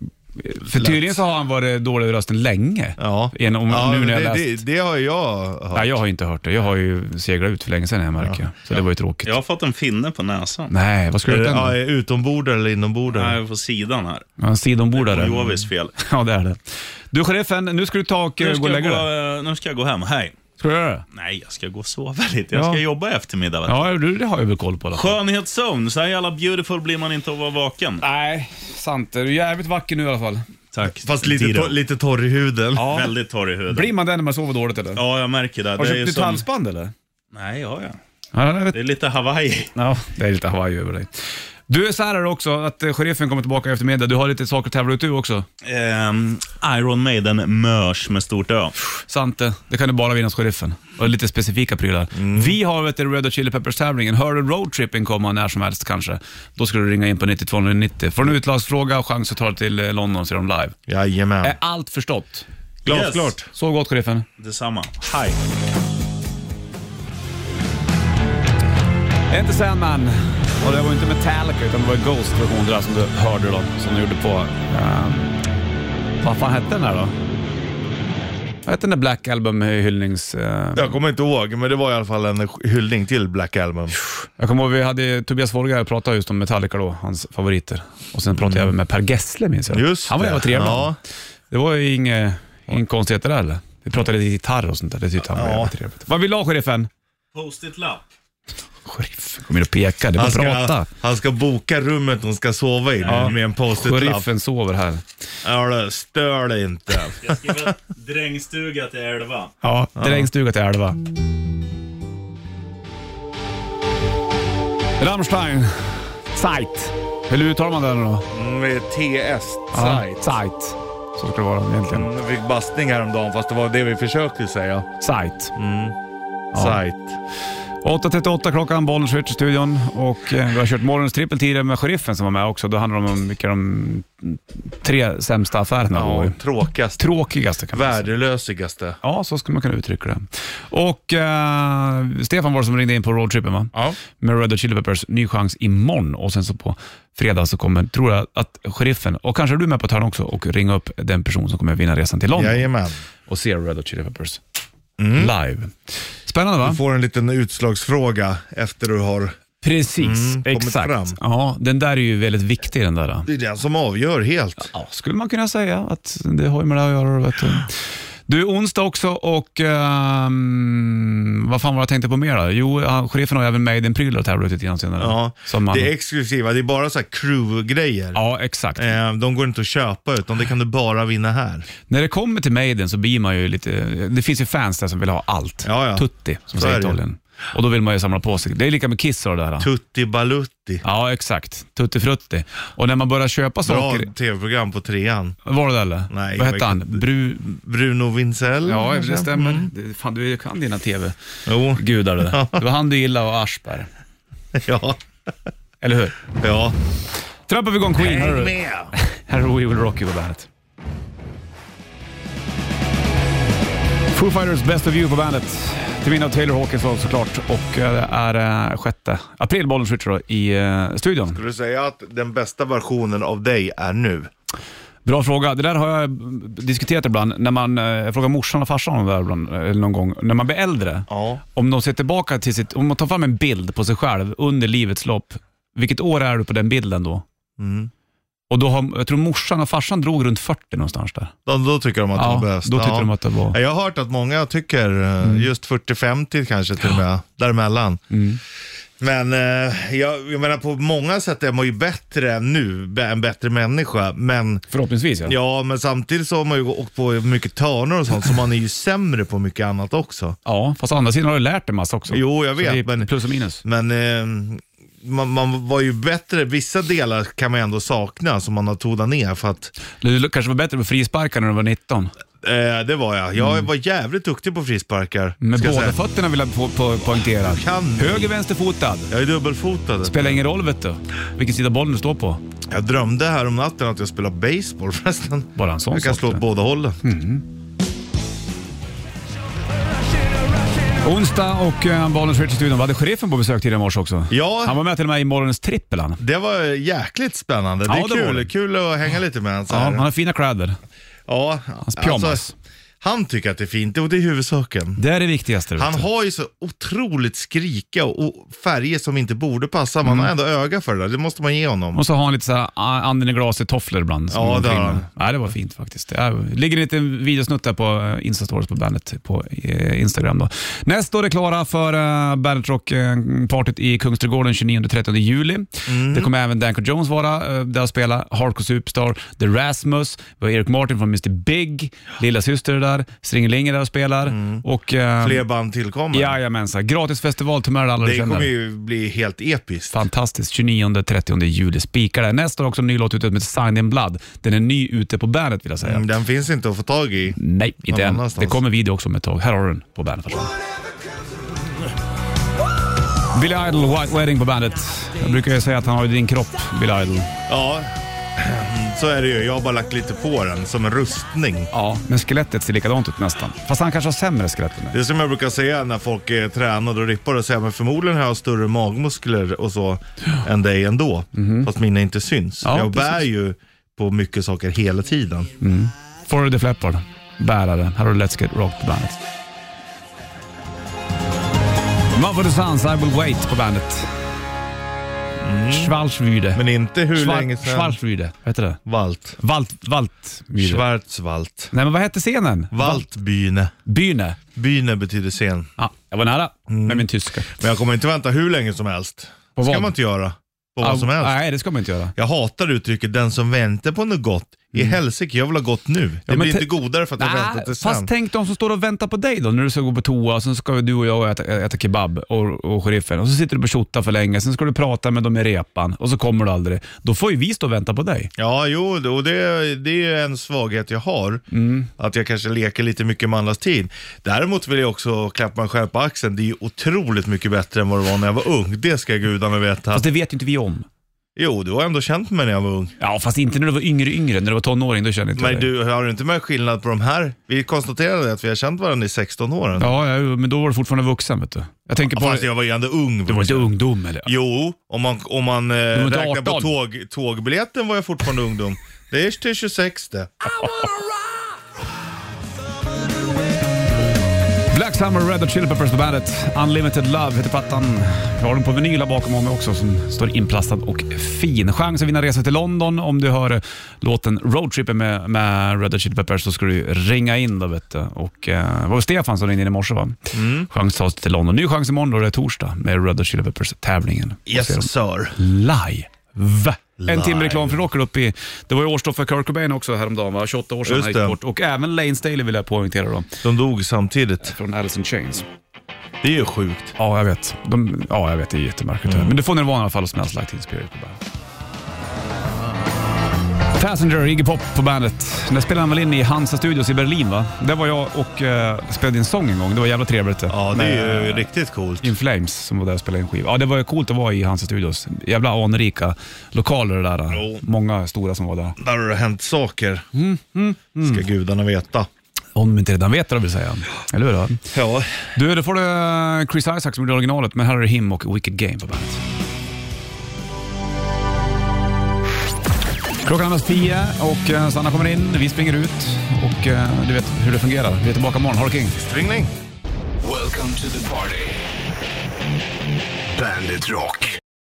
Speaker 2: För tydligen så har han varit dålig i rösten länge.
Speaker 3: Ja.
Speaker 2: Igen, om,
Speaker 3: ja,
Speaker 2: nu när jag
Speaker 3: det,
Speaker 2: läst.
Speaker 3: det, det har jag hört.
Speaker 2: Nej, jag har inte hört det. Jag har ju seglat ut för länge sedan, jag märker jag. Så det var ju tråkigt.
Speaker 5: Jag har fått en finne på
Speaker 3: Mm.
Speaker 5: näsan.
Speaker 2: Nej, vad ska du
Speaker 3: Är det-
Speaker 2: göra
Speaker 3: Eh, ja,
Speaker 2: utan?
Speaker 3: är utombordare eller inombordare?
Speaker 5: Nej, på sidan här.
Speaker 2: Ja, en sidombordare.
Speaker 3: Mm.
Speaker 5: Jovis fel.
Speaker 2: Ja, det är det. Du sheriffen, nu ska du ta och
Speaker 5: Nu
Speaker 2: eh, gå
Speaker 5: ska,
Speaker 2: och
Speaker 5: jag
Speaker 2: lägga dig.
Speaker 5: gå, nu ska jag gå hem. Hej.
Speaker 2: Ska du göra det?
Speaker 5: Nej, jag ska gå och sova lite. Jag
Speaker 2: Ja.
Speaker 5: ska jobba i eftermiddag. vet du.
Speaker 2: Ja, du, det har jag väl koll på. i alla fall.
Speaker 5: Skönhetszon. Så här jävla beautiful blir man inte av att vara vaken.
Speaker 2: Nej, sant. Du är jävligt vacker nu i alla fall.
Speaker 5: Tack.
Speaker 3: Fast lite,
Speaker 5: Tiro.
Speaker 3: tor- lite torr i huden.
Speaker 5: Ja. Väldigt torr i huden.
Speaker 2: Blir man det när man sover dåligt eller?
Speaker 5: Ja, jag märker det.
Speaker 2: Har du
Speaker 5: det är
Speaker 2: köpt ditt
Speaker 5: som-
Speaker 2: halsband eller?
Speaker 5: Nej, ja, ja.
Speaker 2: Ja, jag vet.
Speaker 5: Det är lite Hawaii.
Speaker 2: Ja, det är lite Hawaii över dig. Du, så här är det också, att eh, sheriffen kommer tillbaka i eftermiddag. Du har lite saker att tävla ut du också.
Speaker 5: Ehm, Iron Maiden mörs med stort Ö.
Speaker 2: Sante, eh? det kan du bara vinna hos sheriffen. Och lite specifika prylar.
Speaker 5: Mm.
Speaker 2: Vi har vet, du, Red Hot Chili Peppers-tävlingen. Hör du roadtrippen komma när som helst kanske? Då ska du ringa in på 9290. Får du en utlagsfråga och chans att ta dig till eh, London och se dem live.
Speaker 3: Jajamän.
Speaker 2: Är allt förstått?
Speaker 3: Glasklart.
Speaker 5: Yes,
Speaker 2: Så gott sheriffen.
Speaker 5: detsamma. Hej.
Speaker 2: Inte Sandman. Och det var inte Metallica utan det var Ghost version det där som du hörde då. Som du gjorde på... ehm, vad fan hette den där då? Vad hette den där Black Album-hyllnings... eh,
Speaker 3: Jag kommer inte ihåg, men det var i alla fall en hyllning till Black Album.
Speaker 2: Jag kommer ihåg vi hade Tobias Forge här och pratade just om Metallica då, hans favoriter. Och sen pratade jag även med Per Gessle minns jag.
Speaker 3: Just
Speaker 2: Han var
Speaker 3: det.
Speaker 2: jävla trevlig.
Speaker 3: Ja.
Speaker 2: Det var ju inget ingen konstigheter där eller? Vi pratade lite gitarr och sånt där. Det tyckte han var
Speaker 3: Ja.
Speaker 2: jävligt trevligt. Vad vill du ha sheriffen?
Speaker 5: Post-it-lapp.
Speaker 2: Sheriffen kom in och pekade. Det var prata.
Speaker 3: han ska boka rummet hon ska sova i med en post-it-lapp.
Speaker 2: Sheriffen sover här.
Speaker 3: Ja, du, stör dig inte.
Speaker 5: Jag skriver drängstuga till elva.
Speaker 2: Ja, drängstuga till elva. Rammstein. Zeit. Hur uttalar man den då?
Speaker 3: Mm, Med TS,
Speaker 2: Ja,
Speaker 3: Zeit.
Speaker 2: Zeit. Så ska det vara egentligen.
Speaker 3: Jag fick bastning häromdagen fast det var det vi försökte säga.
Speaker 2: Zeit.
Speaker 3: Zeit.
Speaker 2: 8.38 klockan, Bollnäs i studion och eh, vi har kört morgonens trippel tidigare med sheriffen som var med också. Då handlar det om vilka de tre sämsta affärerna var.
Speaker 3: Ja, tråkigast.
Speaker 2: Tråkigaste kan man säga.
Speaker 3: Värdelösigaste.
Speaker 2: Ja, så skulle man kunna uttrycka det. Och eh, Stefan var det som ringde in på roadtrippen va?
Speaker 3: Ja.
Speaker 2: Med Red Hot Chili Peppers, ny chans imorgon och sen så på fredag så kommer, tror jag, att sheriffen och kanske du är med på ett hörn också och ringa upp den person som kommer vinna resan till London
Speaker 3: Jajamän. Mm.
Speaker 2: och se Red Hot Chili Peppers live. Spännande va?
Speaker 3: Du får en liten utslagsfråga efter du har...
Speaker 2: Precis,
Speaker 3: Mm, kommit
Speaker 2: exakt.
Speaker 3: fram.
Speaker 2: Ja, den där är ju väldigt viktig den där.
Speaker 3: Det är den som avgör helt.
Speaker 2: Ja, skulle man kunna säga att det har ju med det att göra. Vet du. du, onsdag också och ehm, vad fan var det jag tänkte på mer då? Jo, han- sheriffen har ju även Maiden-prylar att tävla ut lite grann senare.
Speaker 3: Ja.
Speaker 2: Som man,
Speaker 3: Det är exklusiva, det är bara så här crew-grejer.
Speaker 2: ja, exakt.
Speaker 3: Eh, De går inte att köpa utan det kan du bara vinna här.
Speaker 2: När det kommer till Maiden så blir man ju lite... Det finns ju fans där som vill ha allt.
Speaker 3: Ja, ja.
Speaker 2: Tutti, som
Speaker 3: Så
Speaker 2: säger
Speaker 3: är
Speaker 2: i
Speaker 3: det ju.
Speaker 2: Italien. Och då vill man ju samla på sig. Det är lika med Kiss och det där.
Speaker 3: Tutti Balutti.
Speaker 2: Ja, exakt. Tutti frutti. Och när man börjar köpa
Speaker 3: Bra
Speaker 2: saker...
Speaker 3: tv-program på trean.
Speaker 2: Var det det eller?
Speaker 3: Nej,
Speaker 2: Vad
Speaker 3: jag
Speaker 2: hette
Speaker 3: vet
Speaker 2: han?
Speaker 3: inte.
Speaker 2: Bru...
Speaker 3: Bruno Vincell.
Speaker 2: Ja,
Speaker 3: kanske? Mm.
Speaker 2: det stämmer. Det- Fan, du kan dina tv-gudar du.
Speaker 3: Jo,
Speaker 2: Det var han du gillade och Aschberg.
Speaker 3: ja.
Speaker 2: Eller hur?
Speaker 3: ja.
Speaker 2: Trampar vi igång Queen. Hör du? Här är We Will Rock You på bandet. Foo Fighters Best of You på bandet. Till minne av Taylor Hawkins också, såklart. Och eh, det är eh, sjätte april, bollen switcher då, i eh, studion.
Speaker 3: Skulle du säga att den bästa versionen av dig är nu?
Speaker 2: Bra fråga. Det där har jag eh, diskuterat ibland. När man, eh, jag frågar morsan och farsan om det där ibland, eh, någon gång. När man blir äldre,
Speaker 3: Ja.
Speaker 2: om de ser tillbaka till sitt... Om man tar fram en bild på sig själv under livets lopp, vilket år är du på den bilden då?
Speaker 3: Mm.
Speaker 2: Och då har, jag tror morsan och farsan drog runt 40 någonstans där.
Speaker 3: Då, då tycker de att
Speaker 2: Ja,
Speaker 3: det var bäst.
Speaker 2: då tyckte de att Mm. det var-
Speaker 3: Ja, Jag har hört att många tycker eh, just 40-50 kanske till och med, däremellan.
Speaker 2: Mm.
Speaker 3: Men eh, jag, jag menar på många sätt är man ju bättre nu, bä- en bättre människa. Men
Speaker 2: Förhoppningsvis ja. ja.
Speaker 3: Ja, men samtidigt så har man ju åkt på mycket törnor och sånt, så man är ju sämre på mycket annat också.
Speaker 2: fast å andra sidan har du lärt dig massa också.
Speaker 3: Jo, jag
Speaker 2: Så det är
Speaker 3: vet, men,
Speaker 2: Plus och minus.
Speaker 3: men eh, man, man var ju bättre. Vissa delar kan man ändå sakna som man har tonat ner. För att,
Speaker 2: Du kanske var bättre på frisparkar när du var 19.
Speaker 3: eh, det var jag. Jag var jävligt duktig på frisparkar.
Speaker 2: Med
Speaker 3: ska jag
Speaker 2: Mm. båda
Speaker 3: säga.
Speaker 2: fötterna vill jag po po poängtera.
Speaker 3: Kan du?
Speaker 2: Höger, vänsterfotad.
Speaker 3: Jag är dubbelfotad.
Speaker 2: Spelar ingen roll vet du, vilken sida bollen du står på.
Speaker 3: Jag drömde här om natten att jag spelade baseball förresten.
Speaker 2: Bara en sån Mm.
Speaker 3: Jag kan
Speaker 2: sak,
Speaker 3: slå åt
Speaker 2: det.
Speaker 3: båda hållen.
Speaker 2: Onsdag och eh, Bollnäs Rich i studion. Vi hade sheriffen på besök tidigare i morse också.
Speaker 3: Ja.
Speaker 2: Han var med till och med i morgonens trippel han.
Speaker 3: Det var jäkligt spännande. Det
Speaker 2: Ja,
Speaker 3: är
Speaker 2: det var
Speaker 3: kul,
Speaker 2: det.
Speaker 3: kul att hänga lite med honom så
Speaker 2: Ja,
Speaker 3: här.
Speaker 2: han har fina kläder.
Speaker 3: Ja, alltså,
Speaker 2: Hans pyjamas.
Speaker 3: han tycker att det är fint och det är huvudsaken.
Speaker 2: Det är det viktigaste. vet
Speaker 3: Han
Speaker 2: du.
Speaker 3: har ju så otroligt skrika och, och färger som inte borde passa.
Speaker 2: Mm.
Speaker 3: Man har ändå öga för det där. Det måste man ge honom.
Speaker 2: Och så har han lite så här ah, anden i glaset tofflor ibland. som
Speaker 3: Ja,
Speaker 2: går
Speaker 3: det har
Speaker 2: omkring
Speaker 3: han.
Speaker 2: med. Nej, det var fint faktiskt. Det är- ligger en liten videosnutt där på eh, Instastories på bandet på eh, Instagram. Då. Nästa år är klara för uh, Bandet Rock-partyt i Kungsträdgården 29-30 juli.
Speaker 3: Mm.
Speaker 2: Det kommer även Danko Jones vara eh, där och spela, Hardcore Superstar, The Rasmus, vi har Eric Martin från Mr Big, Lilla Syster är där, Stringeling är där och spelar. Och, uh,
Speaker 3: Mm. Fler band tillkommer.
Speaker 2: Jajamensan, gratisfestival till alla du
Speaker 3: det
Speaker 2: känner.
Speaker 3: kommer ju bli helt episkt.
Speaker 2: Fantastiskt. 29-30 juli. Spikar det. Nästa år också en ny låt ute med Sign in Blood. Den är ny ute på bandet vill jag säga.
Speaker 3: Mm, Den finns inte att få tag i.
Speaker 2: Nej, inte
Speaker 3: Någon
Speaker 2: än.
Speaker 3: annanstans.
Speaker 2: Det kommer video också om ett tag. Här har du den på bandet. Varsågod. Billy Idol, White Wedding på bandet. Jag brukar ju säga att han har ju din kropp, Billy Idol.
Speaker 3: Ja, så är det ju. Jag har bara lagt lite på den som en rustning.
Speaker 2: Ja. Men skelettet ser likadant ut nästan. Fast han kanske har sämre skelett än mig.
Speaker 3: Det är som jag brukar säga när folk är tränade och rippar och säger men förmodligen har jag större magmuskler och så än dig ändå. Fast mina inte syns.
Speaker 2: Mhm. Ja,
Speaker 3: jag bär
Speaker 2: precis.
Speaker 3: ju på mycket saker hela tiden.
Speaker 2: Forward the Flappard, bärare. Här har du Let's Get Rock på bandet. Mumford Sons, I Will Wait på bandet. Schwarzwüde.
Speaker 3: Mm. Men inte hur
Speaker 2: Schwar-
Speaker 3: länge sedan.
Speaker 2: Schwarzwüde, vad heter det?
Speaker 3: Walt.
Speaker 2: Walt... Walt... Schwar-
Speaker 3: Schwarzwald.
Speaker 2: Nej men vad hette scenen?
Speaker 3: Waltbyne.
Speaker 2: Byne.
Speaker 3: Byne betyder scen.
Speaker 2: Ja, jag var nära
Speaker 3: Mm.
Speaker 2: med min tyska.
Speaker 3: Men jag kommer inte vänta hur länge som helst.
Speaker 2: På
Speaker 3: ska
Speaker 2: vad?
Speaker 3: man inte göra. På vad som helst.
Speaker 2: Nej, det ska man inte göra.
Speaker 3: Jag hatar uttrycket den som väntar på något gott. I helsike, jag vill ha gott nu. Det
Speaker 2: Mm. men
Speaker 3: blir
Speaker 2: te-
Speaker 3: inte godare för att jag väntar till
Speaker 2: Nej,
Speaker 3: sen.
Speaker 2: fast tänk de som står och väntar på dig då när du ska gå på toa och sen ska du och jag äta, äta kebab och, och sheriffen och så sitter du på tjotta för länge, sen ska du prata med dem i repan och så kommer du aldrig. Då får ju vi stå och vänta på dig.
Speaker 3: Ja, jo, och det, det är en svaghet jag har.
Speaker 2: Mm.
Speaker 3: Att jag kanske leker lite mycket med andras tid. Däremot vill jag också klappa mig själv på axeln. Det är ju otroligt mycket bättre än vad det var när jag var ung. Det ska gudarna veta.
Speaker 2: Fast det vet ju inte vi om.
Speaker 3: Jo, du har ändå känt mig när jag var ung.
Speaker 2: Ja, fast inte när du var yngre yngre, när du var tonåring, då kände inte jag
Speaker 3: Men
Speaker 2: dig.
Speaker 3: du, har du inte märkt skillnad på de här? Vi konstaterade att vi har känt varandra i 16 åren.
Speaker 2: Ja, ja, men då var du fortfarande vuxen vet du. Jag tänker på...
Speaker 3: Fast jag var ju ändå ung.
Speaker 2: Du var inte ungdom eller?
Speaker 3: Jo, om man, om man eh,
Speaker 2: inte
Speaker 3: räknar på
Speaker 2: 18.
Speaker 3: tåg, tågbiljetten var jag fortfarande ungdom. Det är till 26 det.
Speaker 2: Black Summer, Red Hot Chili Peppers på bandet. Unlimited Love heter plattan. Jag har den på vinyl här bakom mig också som står inplastad och fin. Chans att vinna resor till London om du hör låten Roadtrippen med, med Red Hot Chili Peppers så ska du ringa in då vet du. Och, eh, det var Stefan som ringde in i morse va?
Speaker 3: Mm.
Speaker 2: Chans att ta sig till London. Ny chans imorgon då det är torsdag med Red Hot Chili Peppers-tävlingen. Och se dem
Speaker 3: Yes sir.
Speaker 2: Live. En
Speaker 3: Live.
Speaker 2: timme reklam för rocker upp i... Det var ju årsdag för Kurt Cobain också häromdagen, va? 28 år sedan
Speaker 3: Just
Speaker 2: han
Speaker 3: det.
Speaker 2: gick bort. Och även Lane Staley vill jag poängtera då,
Speaker 3: De dog samtidigt.
Speaker 2: från Alice in Chains.
Speaker 3: Det är ju sjukt.
Speaker 2: Ja, jag vet. De, ja, jag vet. Det är jättemärkligt.
Speaker 3: Mm.
Speaker 2: Men du får Nirvana i alla fall och Smells Like Teen Spirit på bandet. Passenger, Iggy Pop på bandet. När spelade han väl in i Hansa Studios i Berlin va? Där var jag och eh, spelade in sång en gång. Det var jävla trevligt.
Speaker 3: Ja, det
Speaker 2: Med
Speaker 3: är ju riktigt coolt.
Speaker 2: In Flames som var där och spelade in skiva. Ja, det var ju coolt att vara i Hansa Studios. Jävla anrika lokaler det där.
Speaker 3: Jo.
Speaker 2: Många stora som var där.
Speaker 3: Där har det hänt saker. Ska gudarna veta.
Speaker 2: Om inte redan vet det vill säga. Eller hur? Då?
Speaker 3: Ja,
Speaker 2: Du, då får du eh, Chris Isaak som gjorde originalet, men här är det Him och Wicked Game på bandet. Klockan är nästan tio och eh, Sanna kommer in, vi springer ut och eh, du vet hur det fungerar. Vi är tillbaka imorgon. Ha det king.
Speaker 3: ringning.
Speaker 1: Welcome to the party. Bandit Rock.